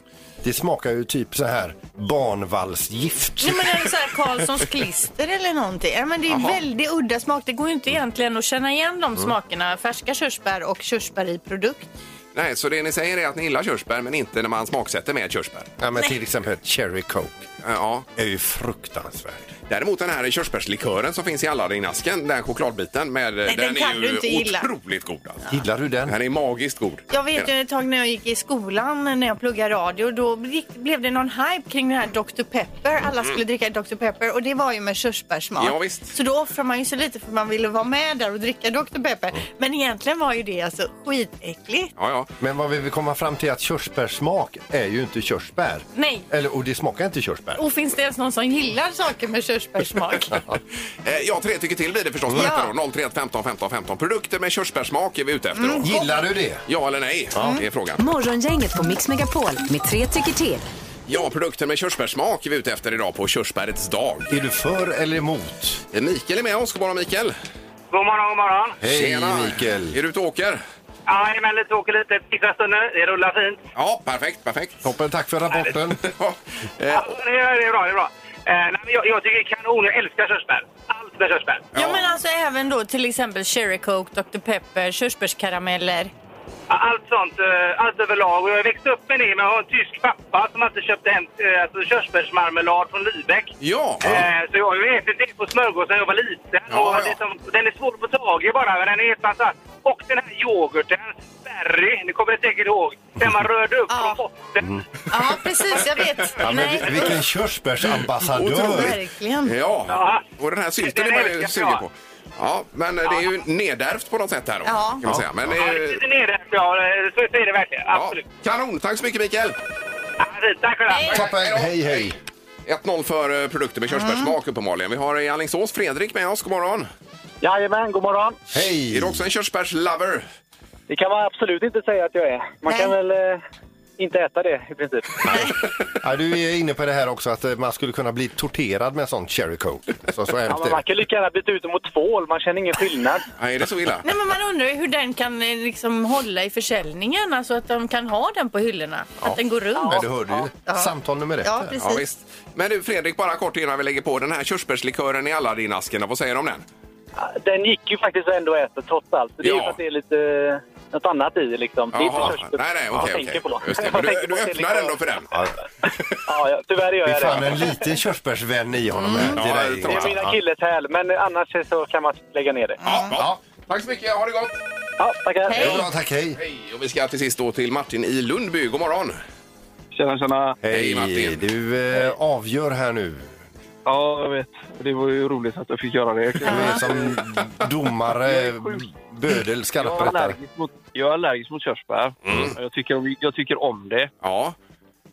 Speaker 4: Det smakar ju typ så här barnvalsgift.
Speaker 3: Nej, men är det så här Karlssons klister eller någonting? Ja, men det är väldigt udda smak. Det går ju
Speaker 2: Mm.
Speaker 3: inte egentligen att känna igen de smakerna. Färska körsbär och körsbär i produkt.
Speaker 2: Nej, så det ni säger är att ni gillar körsbär men inte när man smaksätter med körsbär.
Speaker 4: Ja, men till exempel cherry coke
Speaker 2: Eh, Ja.
Speaker 4: är ju fruktansvärt.
Speaker 2: Däremot den här körsbärslikören som finns i Aladdin-asken, den här chokladbiten med...
Speaker 3: den kan
Speaker 2: är
Speaker 3: du inte gilla.
Speaker 2: otroligt god alltså.
Speaker 4: Gillar du den?
Speaker 2: Den är magiskt god.
Speaker 3: Jag vet ju ett tag när jag gick i skolan, när jag pluggade radio, då gick, blev det någon hype kring den här Dr. Pepper. Alla skulle dricka Dr. Pepper och det var ju med körsbärssmak.
Speaker 2: Mm. Ja, visst.
Speaker 3: Så då offrar man ju så lite för man ville vara med där och dricka Dr. Pepper.
Speaker 2: Mm.
Speaker 3: Men egentligen var ju det alltså skitäckligt.
Speaker 2: Ja, ja.
Speaker 4: Men vad vi vill komma fram till är att körsbärssmak är ju inte körsbär.
Speaker 9: Nej.
Speaker 4: Eller, och det smakar inte körsbär.
Speaker 3: Och finns det ens någon som gillar saker med körsbärssmak?
Speaker 2: Eh, Ja, tre tycker till blir det förstås på
Speaker 3: Ja.
Speaker 2: detta då. 031 15 15 15. Produkter med körsbärssmak är vi ute efter
Speaker 3: Mm,
Speaker 2: då.
Speaker 4: Gillar du det?
Speaker 2: Ja eller nej,
Speaker 4: Mm.
Speaker 2: det är frågan.
Speaker 1: Morgongänget på Mix Megapol med tre tycker till.
Speaker 2: Ja, produkter med körsbärssmak är vi ute efter idag på körsbärets dag.
Speaker 4: Är du för eller emot?
Speaker 2: Eh, Mikael är med oss. God morgon Mikael!
Speaker 10: God morgon, god morgon.
Speaker 4: Hej Mikael!
Speaker 2: Är du ute och åker?
Speaker 10: Jajamän, lite åker lite, pigga stunder. Det rullar fint.
Speaker 2: Ja, perfekt, perfekt.
Speaker 4: Toppen, tack för rapporten.
Speaker 2: Ja, eh,
Speaker 10: Ja, det, är, det är bra, det är bra. Eh, nej, men jag, jag tycker kanon, jag älskar körsbär. Allt med körsbär.
Speaker 3: Ja, men alltså även då till exempel Cherry Coke, Dr. Pepper, körsbärskarameller.
Speaker 10: Ja, Allt sånt, eh, allt överlag. Och jag växte upp med det, men jag har en tysk pappa som alltid köpte hem eh, alltså, körsbärsmarmelad från Lübeck.
Speaker 2: ja.
Speaker 10: Eh, så jag har ju ätit det på smörgås när jag var liten.
Speaker 2: Ja,
Speaker 10: och
Speaker 2: ja.
Speaker 10: Liksom, den är svår att få tag i bara, men den är fantastisk. Och den här yoghurten, Sperry, ni kommer säkert ihåg. Den man rörde upp
Speaker 3: Ja.
Speaker 10: från botten.
Speaker 2: Mm.
Speaker 3: Ja, precis, jag vet.
Speaker 4: Ja, men vi- vilken körsbärsambassadör!
Speaker 3: Verkligen.
Speaker 2: Ja,
Speaker 10: Ja.
Speaker 2: och den här sylten
Speaker 10: Den
Speaker 2: är man
Speaker 10: älskar
Speaker 2: ju
Speaker 10: jag.
Speaker 2: sugen på. Ja, men eh, det är ju nedärvt på något sätt här då,
Speaker 3: Ja.
Speaker 2: kan man säga. Men,
Speaker 10: Ja, det
Speaker 2: eh,
Speaker 10: sitter nere. Ja, eh, så är det verkligen.
Speaker 2: ja,
Speaker 10: Absolut.
Speaker 2: kanon! Tack så mycket Mikael!
Speaker 10: Ja. Tack själva.
Speaker 4: Toppen, hej hej!
Speaker 2: 1-0 för eh, produkter med körsbärssmak uppenbarligen. Vi har i Alingsås Fredrik med oss. God morgon!
Speaker 10: Jajamän, god morgon.
Speaker 2: Är
Speaker 4: Hej!
Speaker 2: du också en körsbärslover?
Speaker 10: Det kan man absolut inte säga att jag är. Man
Speaker 3: Nej.
Speaker 10: kan väl eh, inte äta det i princip.
Speaker 4: Ja, du är inne på det här också att eh, man skulle kunna bli torterad med en sån cherry coke. Så, så
Speaker 10: Ja,
Speaker 4: hemskt
Speaker 10: men
Speaker 4: är
Speaker 10: man
Speaker 4: det.
Speaker 10: kan lika gärna byta ut det mot tvål. Man känner ingen skillnad.
Speaker 2: Nej, är det så illa?
Speaker 3: Nej, men man undrar ju hur den kan eh, liksom hålla i försäljningen, alltså att de kan ha den på hyllorna, att den går runt.
Speaker 4: Men du hörde ju,
Speaker 3: Ja.
Speaker 4: samtal nummer ett.
Speaker 3: Ja,
Speaker 4: här.
Speaker 3: precis.
Speaker 2: Ja, visst. Men du Fredrik, bara kort innan vi lägger på. Den här körsbärslikören i Aladdin-asken, vad säger du om den?
Speaker 10: Den gick ju faktiskt ändå att äta trots allt. Det är ju
Speaker 2: Ja.
Speaker 10: för att det är lite eh, något annat i liksom. Det är inte
Speaker 2: Jaha.
Speaker 10: körsbär
Speaker 2: Nej, nej,
Speaker 10: jag
Speaker 2: okej.
Speaker 10: tänker
Speaker 2: okej.
Speaker 10: på då.
Speaker 2: Just det.
Speaker 10: Jag
Speaker 2: Men du,
Speaker 10: tänker på
Speaker 2: du
Speaker 10: att det är
Speaker 2: öppnar
Speaker 10: liksom-
Speaker 2: ändå för den?
Speaker 10: Ja, ja, tyvärr gör
Speaker 4: Det
Speaker 10: jag
Speaker 4: är
Speaker 10: det.
Speaker 4: fan en liten körsbärsvän i honom.
Speaker 2: Ja,
Speaker 4: Det, där
Speaker 2: det tror
Speaker 10: Det
Speaker 2: jag.
Speaker 10: är mina
Speaker 4: Ja.
Speaker 10: killes häl, men annars så kan man lägga ner det.
Speaker 2: Ja, ja. Tack så mycket, ha det gott!
Speaker 10: Ja, tackar.
Speaker 4: Det är bra, tack, hej.
Speaker 2: Hej, och vi ska till sist då till Martin i Lundby. God morgon!
Speaker 10: Tjena, tjena.
Speaker 2: Hej, Martin.
Speaker 4: Du eh, avgör här nu.
Speaker 10: Ja, jag vet. Det var ju roligt att jag fick göra det.
Speaker 4: Du är som domare, bödel,
Speaker 10: Jag är
Speaker 4: skarprättare.
Speaker 10: allergisk mot, jag är allergisk mot körsbär.
Speaker 2: Mm.
Speaker 10: Och Jag, tycker om, jag tycker om det.
Speaker 2: Ja,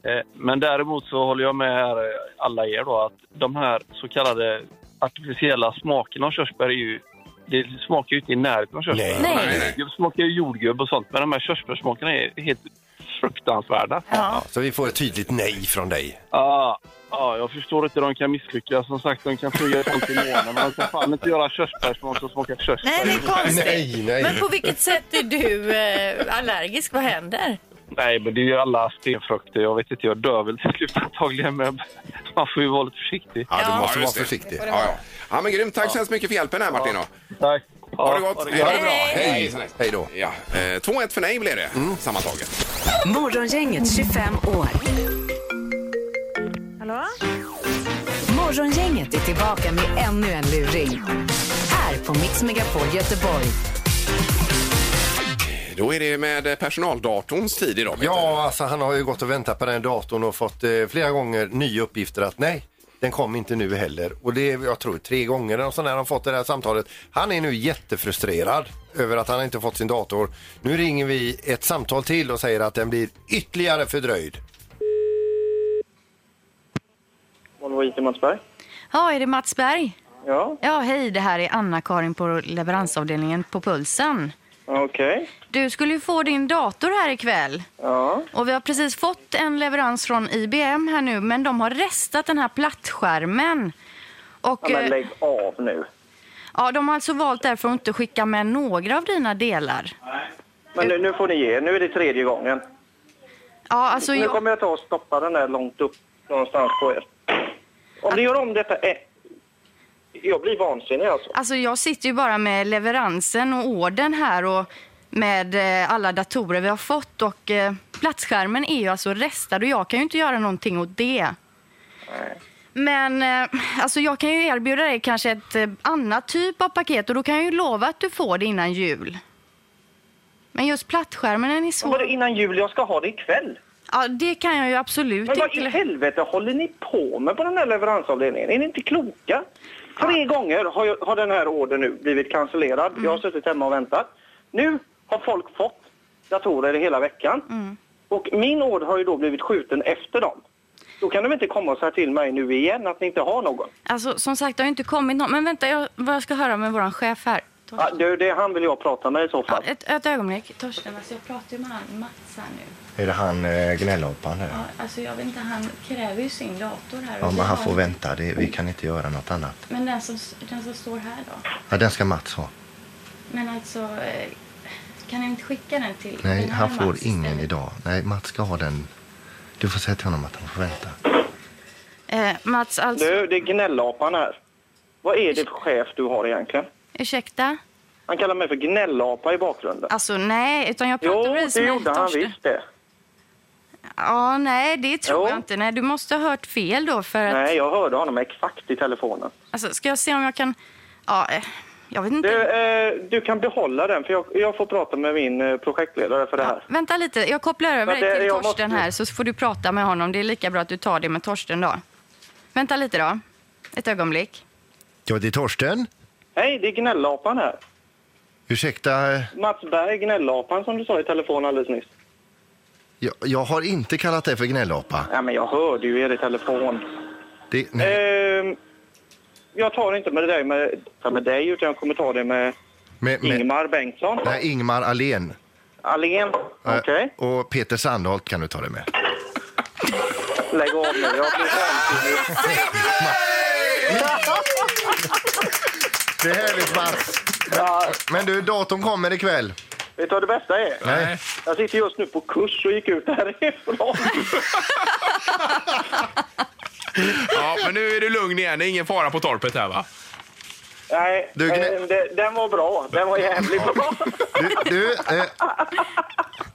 Speaker 10: Eh, Men däremot så håller jag med här, eh, alla er då att de här så kallade artificiella smakerna av körsbär är ju... Det smakar ju inte i närheten av körsbär.
Speaker 4: Nej.
Speaker 2: nej, nej.
Speaker 10: Det smakar ju jordgubb och sånt, men de här körsbärssmakerna är helt fruktansvärda.
Speaker 4: Ja, så vi får ett tydligt nej från dig.
Speaker 10: Ja, ja, ah, jag förstår inte hur de kan misslyckas. Som sagt, de kan flyga runt i månen, men de kan fan inte göra körsbärsmat som smakar körsbär.
Speaker 3: Nej, det är konstigt.
Speaker 4: Nej, nej.
Speaker 3: Men på vilket sätt är du eh, allergisk? Vad händer?
Speaker 10: Nej, men det är ju alla stenfrukter. Jag vet inte, jag dör väl till slut antagligen, men man får ju vara lite försiktig.
Speaker 4: Ja, du
Speaker 3: Ja.
Speaker 4: måste
Speaker 2: Ja,
Speaker 4: vara
Speaker 2: just det.
Speaker 4: försiktig.
Speaker 2: Ja, ja. ja men grymt. Tack så hemskt mycket för hjälpen här Martin. då.
Speaker 10: Tack. Ja,
Speaker 2: Ha det gott.
Speaker 4: Ha det bra.
Speaker 2: Hej. Mm.
Speaker 4: Hej. Hej då.
Speaker 2: Ja, eh, 2-1 för nej blev det sammantaget.
Speaker 1: Morgongänget 25 år. Morgongänget är tillbaka med ännu en luring. Här på Mix Megapol Göteborg.
Speaker 2: Då är det med personaldatorns tid idag. Peter.
Speaker 4: Ja, alltså han har ju gått och väntat på den datorn och fått eh, flera gånger nya uppgifter att nej, Den kom inte nu heller. Och det är, jag tror, tre gånger eller något sånt där har han fått det här samtalet. Han är nu jättefrustrerad över att han inte fått sin dator. Nu ringer vi ett samtal till och säger att den blir ytterligare fördröjd.
Speaker 11: Volvo IT Matsberg.
Speaker 3: Ja, är det Mats Berg?
Speaker 11: Ja,
Speaker 3: Ja, hej, det här är Anna-Karin på leveransavdelningen på Pulsen.
Speaker 11: okej.
Speaker 3: Du skulle ju få din dator här ikväll.
Speaker 11: Ja,
Speaker 3: Och vi har precis fått en leverans från IBM här nu, men de har restat den här plattskärmen. Och,
Speaker 11: ja men
Speaker 3: eh,
Speaker 11: lägg av nu.
Speaker 3: ja, de har alltså valt därför att inte skicka med några av dina delar.
Speaker 11: Men nu, nu får ni ge er. Nu är det tredje gången.
Speaker 3: Ja, alltså,
Speaker 11: nu
Speaker 3: jag,
Speaker 11: kommer jag ta och stoppa den där långt upp någonstans på er. Om ni gör om detta... Eh, jag blir vansinnig alltså.
Speaker 3: alltså jag sitter ju bara med leveransen och orden här och med eh, alla datorer vi har fått och eh, plattskärmen är ju alltså restad och jag kan ju inte göra någonting åt det. Men eh, alltså jag kan ju erbjuda dig kanske ett eh, annat typ av paket och då kan jag ju lova att du får det innan jul. Men just plattskärmen den är svår.
Speaker 11: Vadå innan jul? Jag ska ha det ikväll.
Speaker 3: Ja, det kan jag ju absolut
Speaker 11: Men vad i
Speaker 3: inte.
Speaker 11: helvete håller ni på med på den här leveransavdelningen? Är ni inte kloka? Tre gånger har, jag, har den här ordern nu blivit cancellerad. Jag har suttit hemma och väntat. Nu har folk fått datorer hela veckan. Och min order har ju då blivit skjuten efter dem. Då kan de inte komma och säga till mig nu igen att ni inte har någon.
Speaker 3: Alltså som sagt, det har ju inte kommit någon. Men vänta, jag, vad jag ska höra med vår chef här.
Speaker 11: Ja, du, det, han vill jag prata med i så fall.
Speaker 3: Ett, ett ögonblick. Torsten, alltså jag pratar ju med han Mats här nu.
Speaker 5: Är det han eh, gnällapan där?
Speaker 3: Ja, alltså jag vet inte, han kräver ju sin dator här.
Speaker 5: Ja,
Speaker 3: Och
Speaker 5: men han
Speaker 3: vi
Speaker 5: får
Speaker 3: har-
Speaker 5: vänta. Det, vi kan inte göra något annat.
Speaker 3: Men den som, den som står här då?
Speaker 5: Ja, den ska Mats ha.
Speaker 3: Men alltså, eh, kan ni inte skicka den till
Speaker 5: Nej,
Speaker 3: den här
Speaker 5: han
Speaker 3: Mats?
Speaker 5: får ingen idag. Nej, Mats ska ha den. Du får säga till honom att han får vänta.
Speaker 3: Eh, Mats, alltså,
Speaker 11: Du, det är gnällapan här. Vad är det för chef du har egentligen?
Speaker 3: ursäkta?
Speaker 11: Han kallar mig för gnällapa i bakgrunden.
Speaker 3: Alltså nej, utan jag pratar
Speaker 11: Jo,
Speaker 3: precis
Speaker 11: det
Speaker 3: med
Speaker 11: gjorde han
Speaker 3: Torsten.
Speaker 11: visst det.
Speaker 3: Ja, nej, det tror
Speaker 11: Jo.
Speaker 3: jag inte. Nej, du måste ha hört fel då för att...
Speaker 11: Nej, jag hörde honom exakt i telefonen.
Speaker 3: Alltså, ska jag se om jag kan... Ja, eh, jag vet inte.
Speaker 11: Du, eh, du kan behålla den, för jag, jag får prata med min eh, projektledare för det här.
Speaker 3: Vänta lite, jag kopplar över
Speaker 11: Ja,
Speaker 3: dig
Speaker 11: det-
Speaker 3: till
Speaker 11: jag
Speaker 3: Torsten
Speaker 11: måste-
Speaker 3: här så får du prata med honom. Det är lika bra att du tar det med Torsten då. Vänta lite då. Ett ögonblick.
Speaker 5: Ja, det är Torsten.
Speaker 11: Hej, det är gnällapan här.
Speaker 5: Ursäkta, eh,
Speaker 11: Mats Berg, gnällapan som du sa i telefon alldeles nyss.
Speaker 5: jag, jag har inte kallat dig för gnällapa.
Speaker 11: Ja, men jag hörde ju er i telefon.
Speaker 5: Det,
Speaker 11: Ehm, jag tar inte med dig, med, ta med dig utan jag kommer ta det med,
Speaker 5: med, med,
Speaker 11: Ingmar Bengtsson.
Speaker 5: nej, Ingmar Alén.
Speaker 11: Alén, okej.
Speaker 5: Och Peter Sandholt kan du ta det med.
Speaker 11: Lägg av nu. Jag blir vansinnig.
Speaker 5: Det är härligt, Mats. Men du, datorn kommer ikväll.
Speaker 11: Vet du vad det bästa är?
Speaker 5: Nej.
Speaker 11: Jag sitter just nu på kurs och gick ut härifrån.
Speaker 2: Ja, men nu är du lugn igen. Det är ingen fara på torpet här va?
Speaker 11: Nej,
Speaker 2: Du, gnä-
Speaker 11: eh, det- den var bra. Den var jävligt bra.
Speaker 5: Du, du, eh,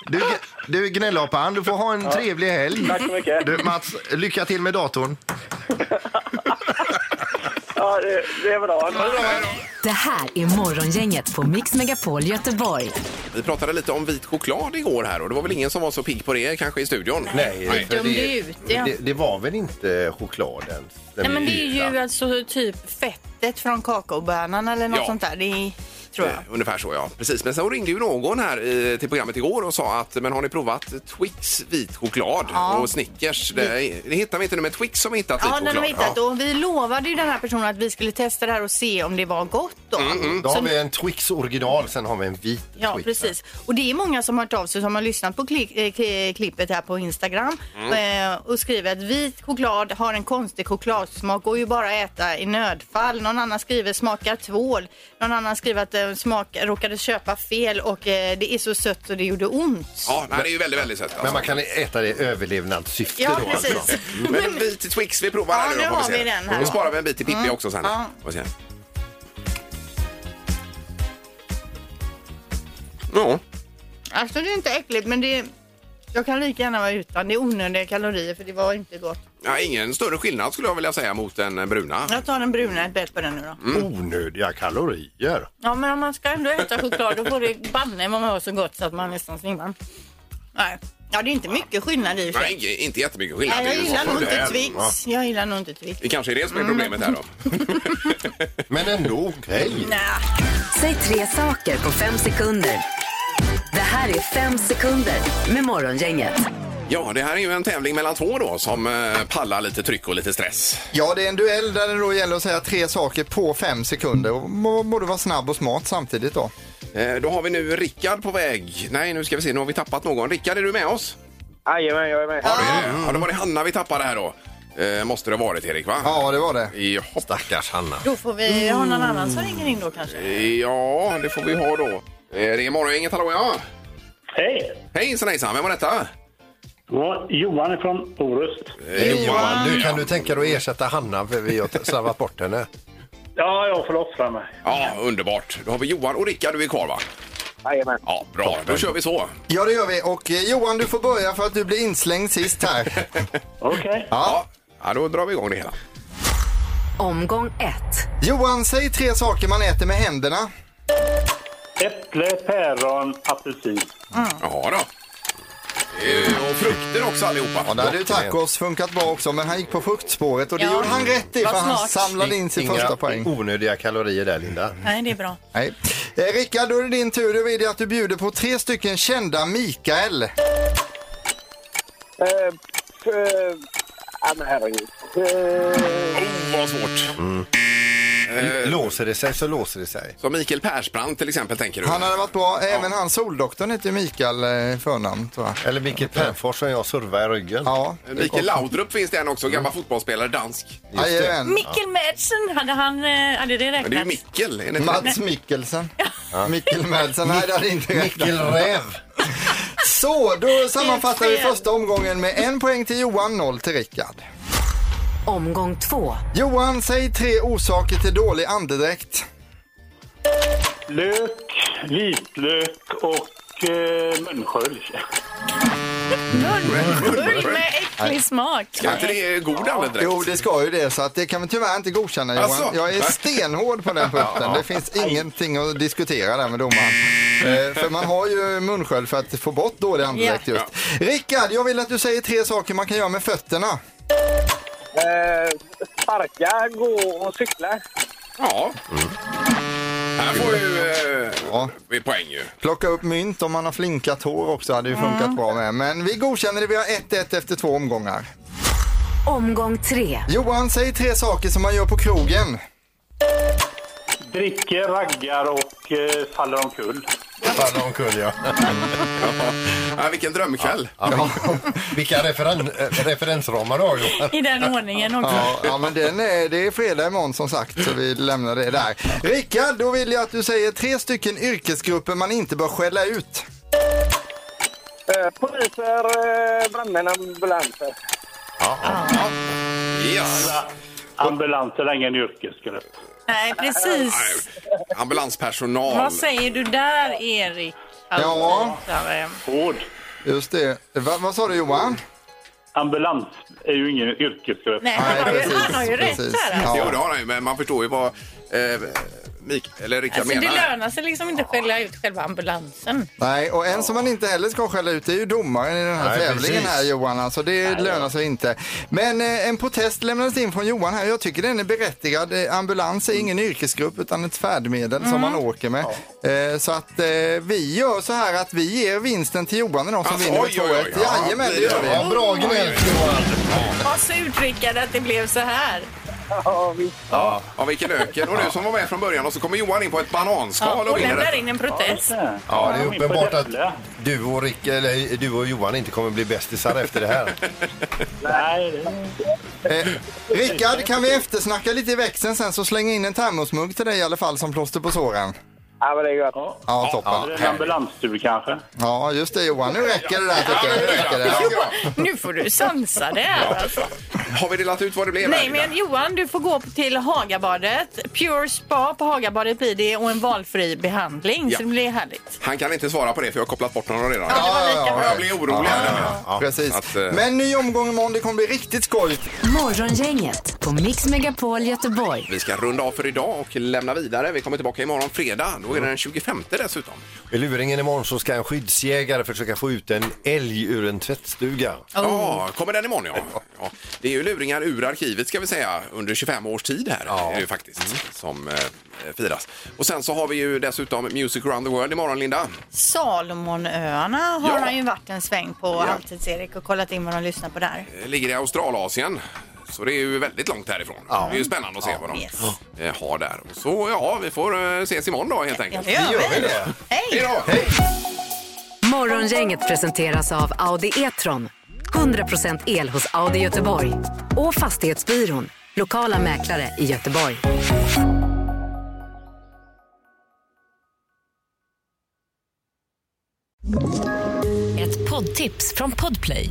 Speaker 5: du, du gnällapan, du får ha en trevlig helg.
Speaker 11: Tack så mycket.
Speaker 5: Du, Mats, lycka till med datorn.
Speaker 11: Ja, det, det är bra.
Speaker 1: Det här är Morgongänget på Mix Megapol Göteborg.
Speaker 2: Vi pratade lite om vit choklad igår här och det var väl ingen som var så pigg på det kanske i studion?
Speaker 5: Nej,
Speaker 12: för dömde det- ut, ja. det-
Speaker 5: var väl inte chokladen?
Speaker 13: Nej, men det är ju alltså typ fettet från kakaobönan eller något
Speaker 2: Ja.
Speaker 13: sånt där. Det är, tror jag.
Speaker 2: Eh, Ungefär så, ja. Precis. Men sen ringde ju någon här eh, till programmet igår och sa att men har ni provat Twix vit choklad
Speaker 13: Ja.
Speaker 2: och Snickers? Det, det hittar vi inte nu, men Twix som hittat
Speaker 13: Ja,
Speaker 2: vit
Speaker 13: den har
Speaker 2: choklad.
Speaker 13: vi hittat. Och vi lovade ju den här personen att vi skulle testa det här och se om det var gott. Då.
Speaker 4: mm.
Speaker 5: Då
Speaker 13: Så
Speaker 5: har vi en Twix original, sen har vi en vit
Speaker 13: Ja,
Speaker 5: Twix.
Speaker 13: precis. Och det är många som har hört av sig som har lyssnat på kli- eh, k- klippet här på Instagram
Speaker 5: Mm.
Speaker 13: eh, och skriver att vit choklad har en konstig chokladsmak och ju bara att äta i nödfall. Någon annan skriver smakar tvål. Någon annan skriver att eh, smak råkade köpa fel och eh, det är så sött så det gjorde ont.
Speaker 2: Ja, nej, det är ju väldigt, väldigt sött. alltså.
Speaker 5: Men man kan äta det i överlevnadssyfte
Speaker 13: Ja,
Speaker 5: då. alltså.
Speaker 13: precis.
Speaker 2: Men en bit Twix vi provar
Speaker 13: Ja,
Speaker 2: här nu.
Speaker 13: nu
Speaker 2: då får
Speaker 13: har
Speaker 2: se.
Speaker 13: vi den här.
Speaker 2: Då sparar vi en bit till Pippi
Speaker 13: Mm.
Speaker 2: också sen.
Speaker 13: Ja.
Speaker 2: Får vi se. Ja.
Speaker 13: Alltså det är inte äckligt men det jag kan lika gärna vara utan. Det är onödiga kalorier för det var inte gott.
Speaker 2: Ja, ingen större skillnad skulle jag vilja säga mot den bruna.
Speaker 13: Jag tar den bruna, ett bett på den nu då.
Speaker 4: Mm.
Speaker 5: Onödiga kalorier.
Speaker 13: Ja, men om man ska ändå äta choklad då får det banne man ha så gott så att man nästan svimmar. Nej,
Speaker 3: Ja, det är inte mycket skillnad i och för sig.
Speaker 2: Nej, inte jättemycket skillnad.
Speaker 3: Nej,
Speaker 2: Det är
Speaker 3: jag
Speaker 2: ju
Speaker 3: gillar
Speaker 2: så-
Speaker 3: nog Mm.
Speaker 2: det
Speaker 3: inte
Speaker 2: är- ja.
Speaker 3: Twix. Jag gillar nog inte Twix.
Speaker 2: Det kanske är det som är problemet här då.
Speaker 4: Men ändå okej.
Speaker 1: Säg tre saker på fem sekunder. Det här är fem sekunder med Morgongänget.
Speaker 2: Ja, det här är ju en tävling mellan två då som eh, pallar lite tryck och lite stress.
Speaker 5: Ja, det är en duell där det då gäller att säga tre saker på fem sekunder. Och må- borde vara snabb och smart samtidigt då.
Speaker 2: Eh, Då har vi nu Rickard på väg. Nej, nu ska vi se. Nu har vi tappat någon. Rickard, är du med oss?
Speaker 11: Jajamän, jag är med.
Speaker 2: Ja, det är det. Ja, då var det Hanna vi tappade här då. Eh, måste det ha varit, Erik, va?
Speaker 5: Ja, det var det.
Speaker 2: Jaha. Stackars Hanna.
Speaker 3: Då får vi ha någon annan som ringer in då kanske.
Speaker 2: Mm. Ja, det får vi ha då. Eh, Det är Morgongänget, hallå ja!
Speaker 14: Hej!
Speaker 2: Hejsan hejsan, vem var detta?
Speaker 14: Ja, Johan från Orust.
Speaker 4: Eh, Johan, du, kan du tänka dig att ersätta Hanna? För vi har slarvat bort henne.
Speaker 14: Ja, jag får offra mig.
Speaker 2: Ja, underbart. Då har vi Johan och Rickard, du är kvar va?
Speaker 11: Jajamän.
Speaker 2: Ja, bra. Då kör vi så.
Speaker 5: Ja, det gör vi. Och eh, Johan, du får börja för att du blir inslängd sist här.
Speaker 14: Okej.
Speaker 5: Ja.
Speaker 2: ja, då drar vi igång det hela.
Speaker 1: Omgång ett.
Speaker 5: Johan, säg tre saker man äter med händerna.
Speaker 14: Äpple, päron, apelsin.
Speaker 2: Jaha då. Eh, Och frukter också allihopa.
Speaker 5: Ja, där hade ju tacos funkat bra också, men han gick på fruktspåret och det
Speaker 3: Ja,
Speaker 5: gjorde han rätt i
Speaker 3: vad
Speaker 5: för han
Speaker 3: smart.
Speaker 5: samlade in sin
Speaker 4: Inga
Speaker 5: första poäng.
Speaker 4: onödiga kalorier där, Linda.
Speaker 3: Nej, det är bra.
Speaker 5: Nej. Eh, Rickard, då är det din tur. Då vill jag att du bjuder på tre stycken kända Mikael.
Speaker 11: Eh, f- eh, Ja, men herregud. Eh,
Speaker 2: Oh, vad svårt.
Speaker 4: Låser det sig så låser det sig.
Speaker 2: Som Mikael Persbrandt till exempel, tänker du?
Speaker 5: Han hade varit bra. Även han Soldoktorn heter ju Mikael eh, i förnamn, tror jag.
Speaker 4: Eller vilket Pernfors som jag servar i ryggen.
Speaker 5: Ja. Mm.
Speaker 2: Mikael Laudrup finns det en också, gammal fotbollsspelare, dansk.
Speaker 4: Just det.
Speaker 5: Jajamän.
Speaker 9: Mikkel Madsen, hade, han, eh, hade det
Speaker 2: Men det är ju
Speaker 9: räknats?
Speaker 2: Mikkel, är det inte det?
Speaker 5: Mats Mikkelsen. Mikkel Madsen. Nej, det hade inte
Speaker 4: Mikkel Räv.
Speaker 5: Så, då sammanfattar vi
Speaker 9: fel.
Speaker 5: första omgången med en poäng till Johan, noll till Rickard.
Speaker 1: Omgång två.
Speaker 5: Johan, säg tre orsaker till dålig andedräkt.
Speaker 14: Lök, vitlök och eh, munskölj.
Speaker 9: Burk med äcklig smak.
Speaker 2: Ska inte det god andedräkt?
Speaker 5: Jo, det ska ju det, så att det kan vi tyvärr inte godkänna Johan.
Speaker 2: Alltså?
Speaker 5: Jag är stenhård på den punkten. Det finns ingenting att diskutera där med domaren. Eh, För man har ju munskölj för att få bort dålig andedräkt
Speaker 3: Ja.
Speaker 5: just. Rickard, jag vill att du säger tre saker man kan göra med fötterna.
Speaker 11: eh, sparka, gå och cykla.
Speaker 2: Ja. Här får ju eh,
Speaker 5: Ja.
Speaker 2: vi poäng ju.
Speaker 5: Plocka upp mynt om man har flinkat hår också hade ju funkat bra med. Men vi godkänner det. Vi har 1-1 efter två omgångar.
Speaker 1: Omgång tre.
Speaker 5: Johan, säg tre saker som man gör på krogen.
Speaker 14: Dricker, raggar och eh, faller omkull.
Speaker 4: Fan omkull, ja.
Speaker 2: Ja, vilken drömkväll.
Speaker 4: ja. Vilka referen eh, referensramar du har, Johan.
Speaker 9: I den ordningen också.
Speaker 5: Ja, ja men den är, det är fredag imorgon som sagt så vi lämnar det där. Rickard, då vill jag att du säger tre stycken yrkesgrupper man inte bör skälla ut.
Speaker 11: Eh, poliser, eh, brandmän, ambulanser.
Speaker 2: Yes.
Speaker 14: Ambulanser är ingen yrkesgrupp.
Speaker 9: Nej, precis.
Speaker 2: Ambulanspersonal.
Speaker 9: Vad säger du där, Erik?
Speaker 5: Ja.
Speaker 9: Där, eh,
Speaker 14: Vård.
Speaker 5: Just det. Va, vad sa du Johan?
Speaker 14: Ambulans är ju ingen yrkesgrupp.
Speaker 9: Nej, han har ju, han har ju rätt här. Alltså.
Speaker 2: Jo, det
Speaker 5: Ja.
Speaker 2: har han ju, men man förstår ju vad eh, Mik eller Rickard
Speaker 9: Alltså, det
Speaker 2: menar.
Speaker 9: lönar sig liksom inte att skälla ut själva ambulansen.
Speaker 5: Nej, och en som man inte heller ska skälla ut det är ju domaren i den här
Speaker 4: Nej,
Speaker 5: tävlingen
Speaker 4: precis.
Speaker 5: här Johan. Alltså det lönar sig inte. Men eh, en protest lämnades in från Johan här. Jag tycker den är berättigad. Eh, Ambulans är ingen yrkesgrupp utan ett färdmedel som man åker med. Eh, så att eh, vi gör så här att vi ger vinsten till Johan idag som
Speaker 2: Alltså,
Speaker 5: vinner med
Speaker 2: oj, oj, oj.
Speaker 5: 2-1.
Speaker 2: Ja,
Speaker 5: Jajamän, det
Speaker 2: det
Speaker 5: gör
Speaker 2: gör
Speaker 5: vi.
Speaker 4: Ja, bra gnällt, Johan.
Speaker 9: Vad surt, Rickard, att det blev så här.
Speaker 11: Ja, visst.
Speaker 2: Ja. ja, vilken öken. Och du som var med från början och så kommer Johan in på ett
Speaker 9: Ja,
Speaker 2: bananskal
Speaker 9: och
Speaker 2: och vinner.
Speaker 9: lämnar
Speaker 2: den.
Speaker 9: in en protest.
Speaker 4: Ja, det är uppenbart att
Speaker 14: Äpple.
Speaker 4: du och, Rick, eller, du och Johan inte kommer bli bästisar efter det här.
Speaker 14: Nej, det är
Speaker 5: Eh, Rickard, kan vi eftersnacka lite i växeln sen så slänga in en termosmugg till dig i alla fall som plåster på såren?
Speaker 11: Ja, men det är gött.
Speaker 5: Ja, toppen.
Speaker 14: det är en ambulanstur kanske.
Speaker 5: Ja, just det Johan. Nu räcker det där tycker jag. Nu räcker det. Ja.
Speaker 9: Nu får du sansa det här. Alltså.
Speaker 2: Har vi delat ut vad det blev?
Speaker 9: Nej,
Speaker 2: här,
Speaker 9: men
Speaker 2: Linda?
Speaker 9: Johan, du får gå till Hagabadet. Pure Spa på Hagabadet blir det och en valfri behandling.
Speaker 2: Ja.
Speaker 9: Så det blir härligt.
Speaker 2: Han kan inte svara på det för jag har kopplat bort honom redan.
Speaker 9: det var lika
Speaker 2: Ja,
Speaker 9: bra.
Speaker 2: Jag blir orolig. här.
Speaker 4: Ja,
Speaker 5: Precis.
Speaker 2: att, eh,
Speaker 5: Men ny omgång imorgon. Det kommer bli riktigt skoj.
Speaker 1: Morgongänget på Mix Megapol Göteborg.
Speaker 2: Vi ska runda av för idag och lämna vidare. Vi kommer tillbaka imorgon fredag. Då Då är det den 25 dessutom.
Speaker 4: I luringen imorgon så ska en skyddsjägare försöka få ut en älg ur en tvättstuga.
Speaker 3: Oh.
Speaker 2: Ja, kommer den imorgon ja. ja. Det är ju luringar ur arkivet ska vi säga under 25 års tid här är det ju faktiskt
Speaker 3: Mm.
Speaker 2: som eh, firas. Och sen så har vi ju dessutom Music around the world imorgon Linda.
Speaker 3: Salomonöarna har
Speaker 2: Ja.
Speaker 3: han ju varit en sväng på Halvtids-Erik och kollat in vad de lyssnar på där.
Speaker 2: Eh, Ligger i Australasien. Så det är ju väldigt långt härifrån. Det är ju spännande att se vad de
Speaker 3: Yes.
Speaker 2: eh, har där. Och Så ja, vi får eh, ses imorgon då helt enkelt.
Speaker 3: det gör Vi gör vi.
Speaker 2: det.
Speaker 3: Hej!
Speaker 15: Morgongänget presenteras av Audi E-tron. 100% el hos Audi Göteborg. Och Fastighetsbyrån. Lokala mäklare i Göteborg.
Speaker 1: Ett poddtips från Podplay.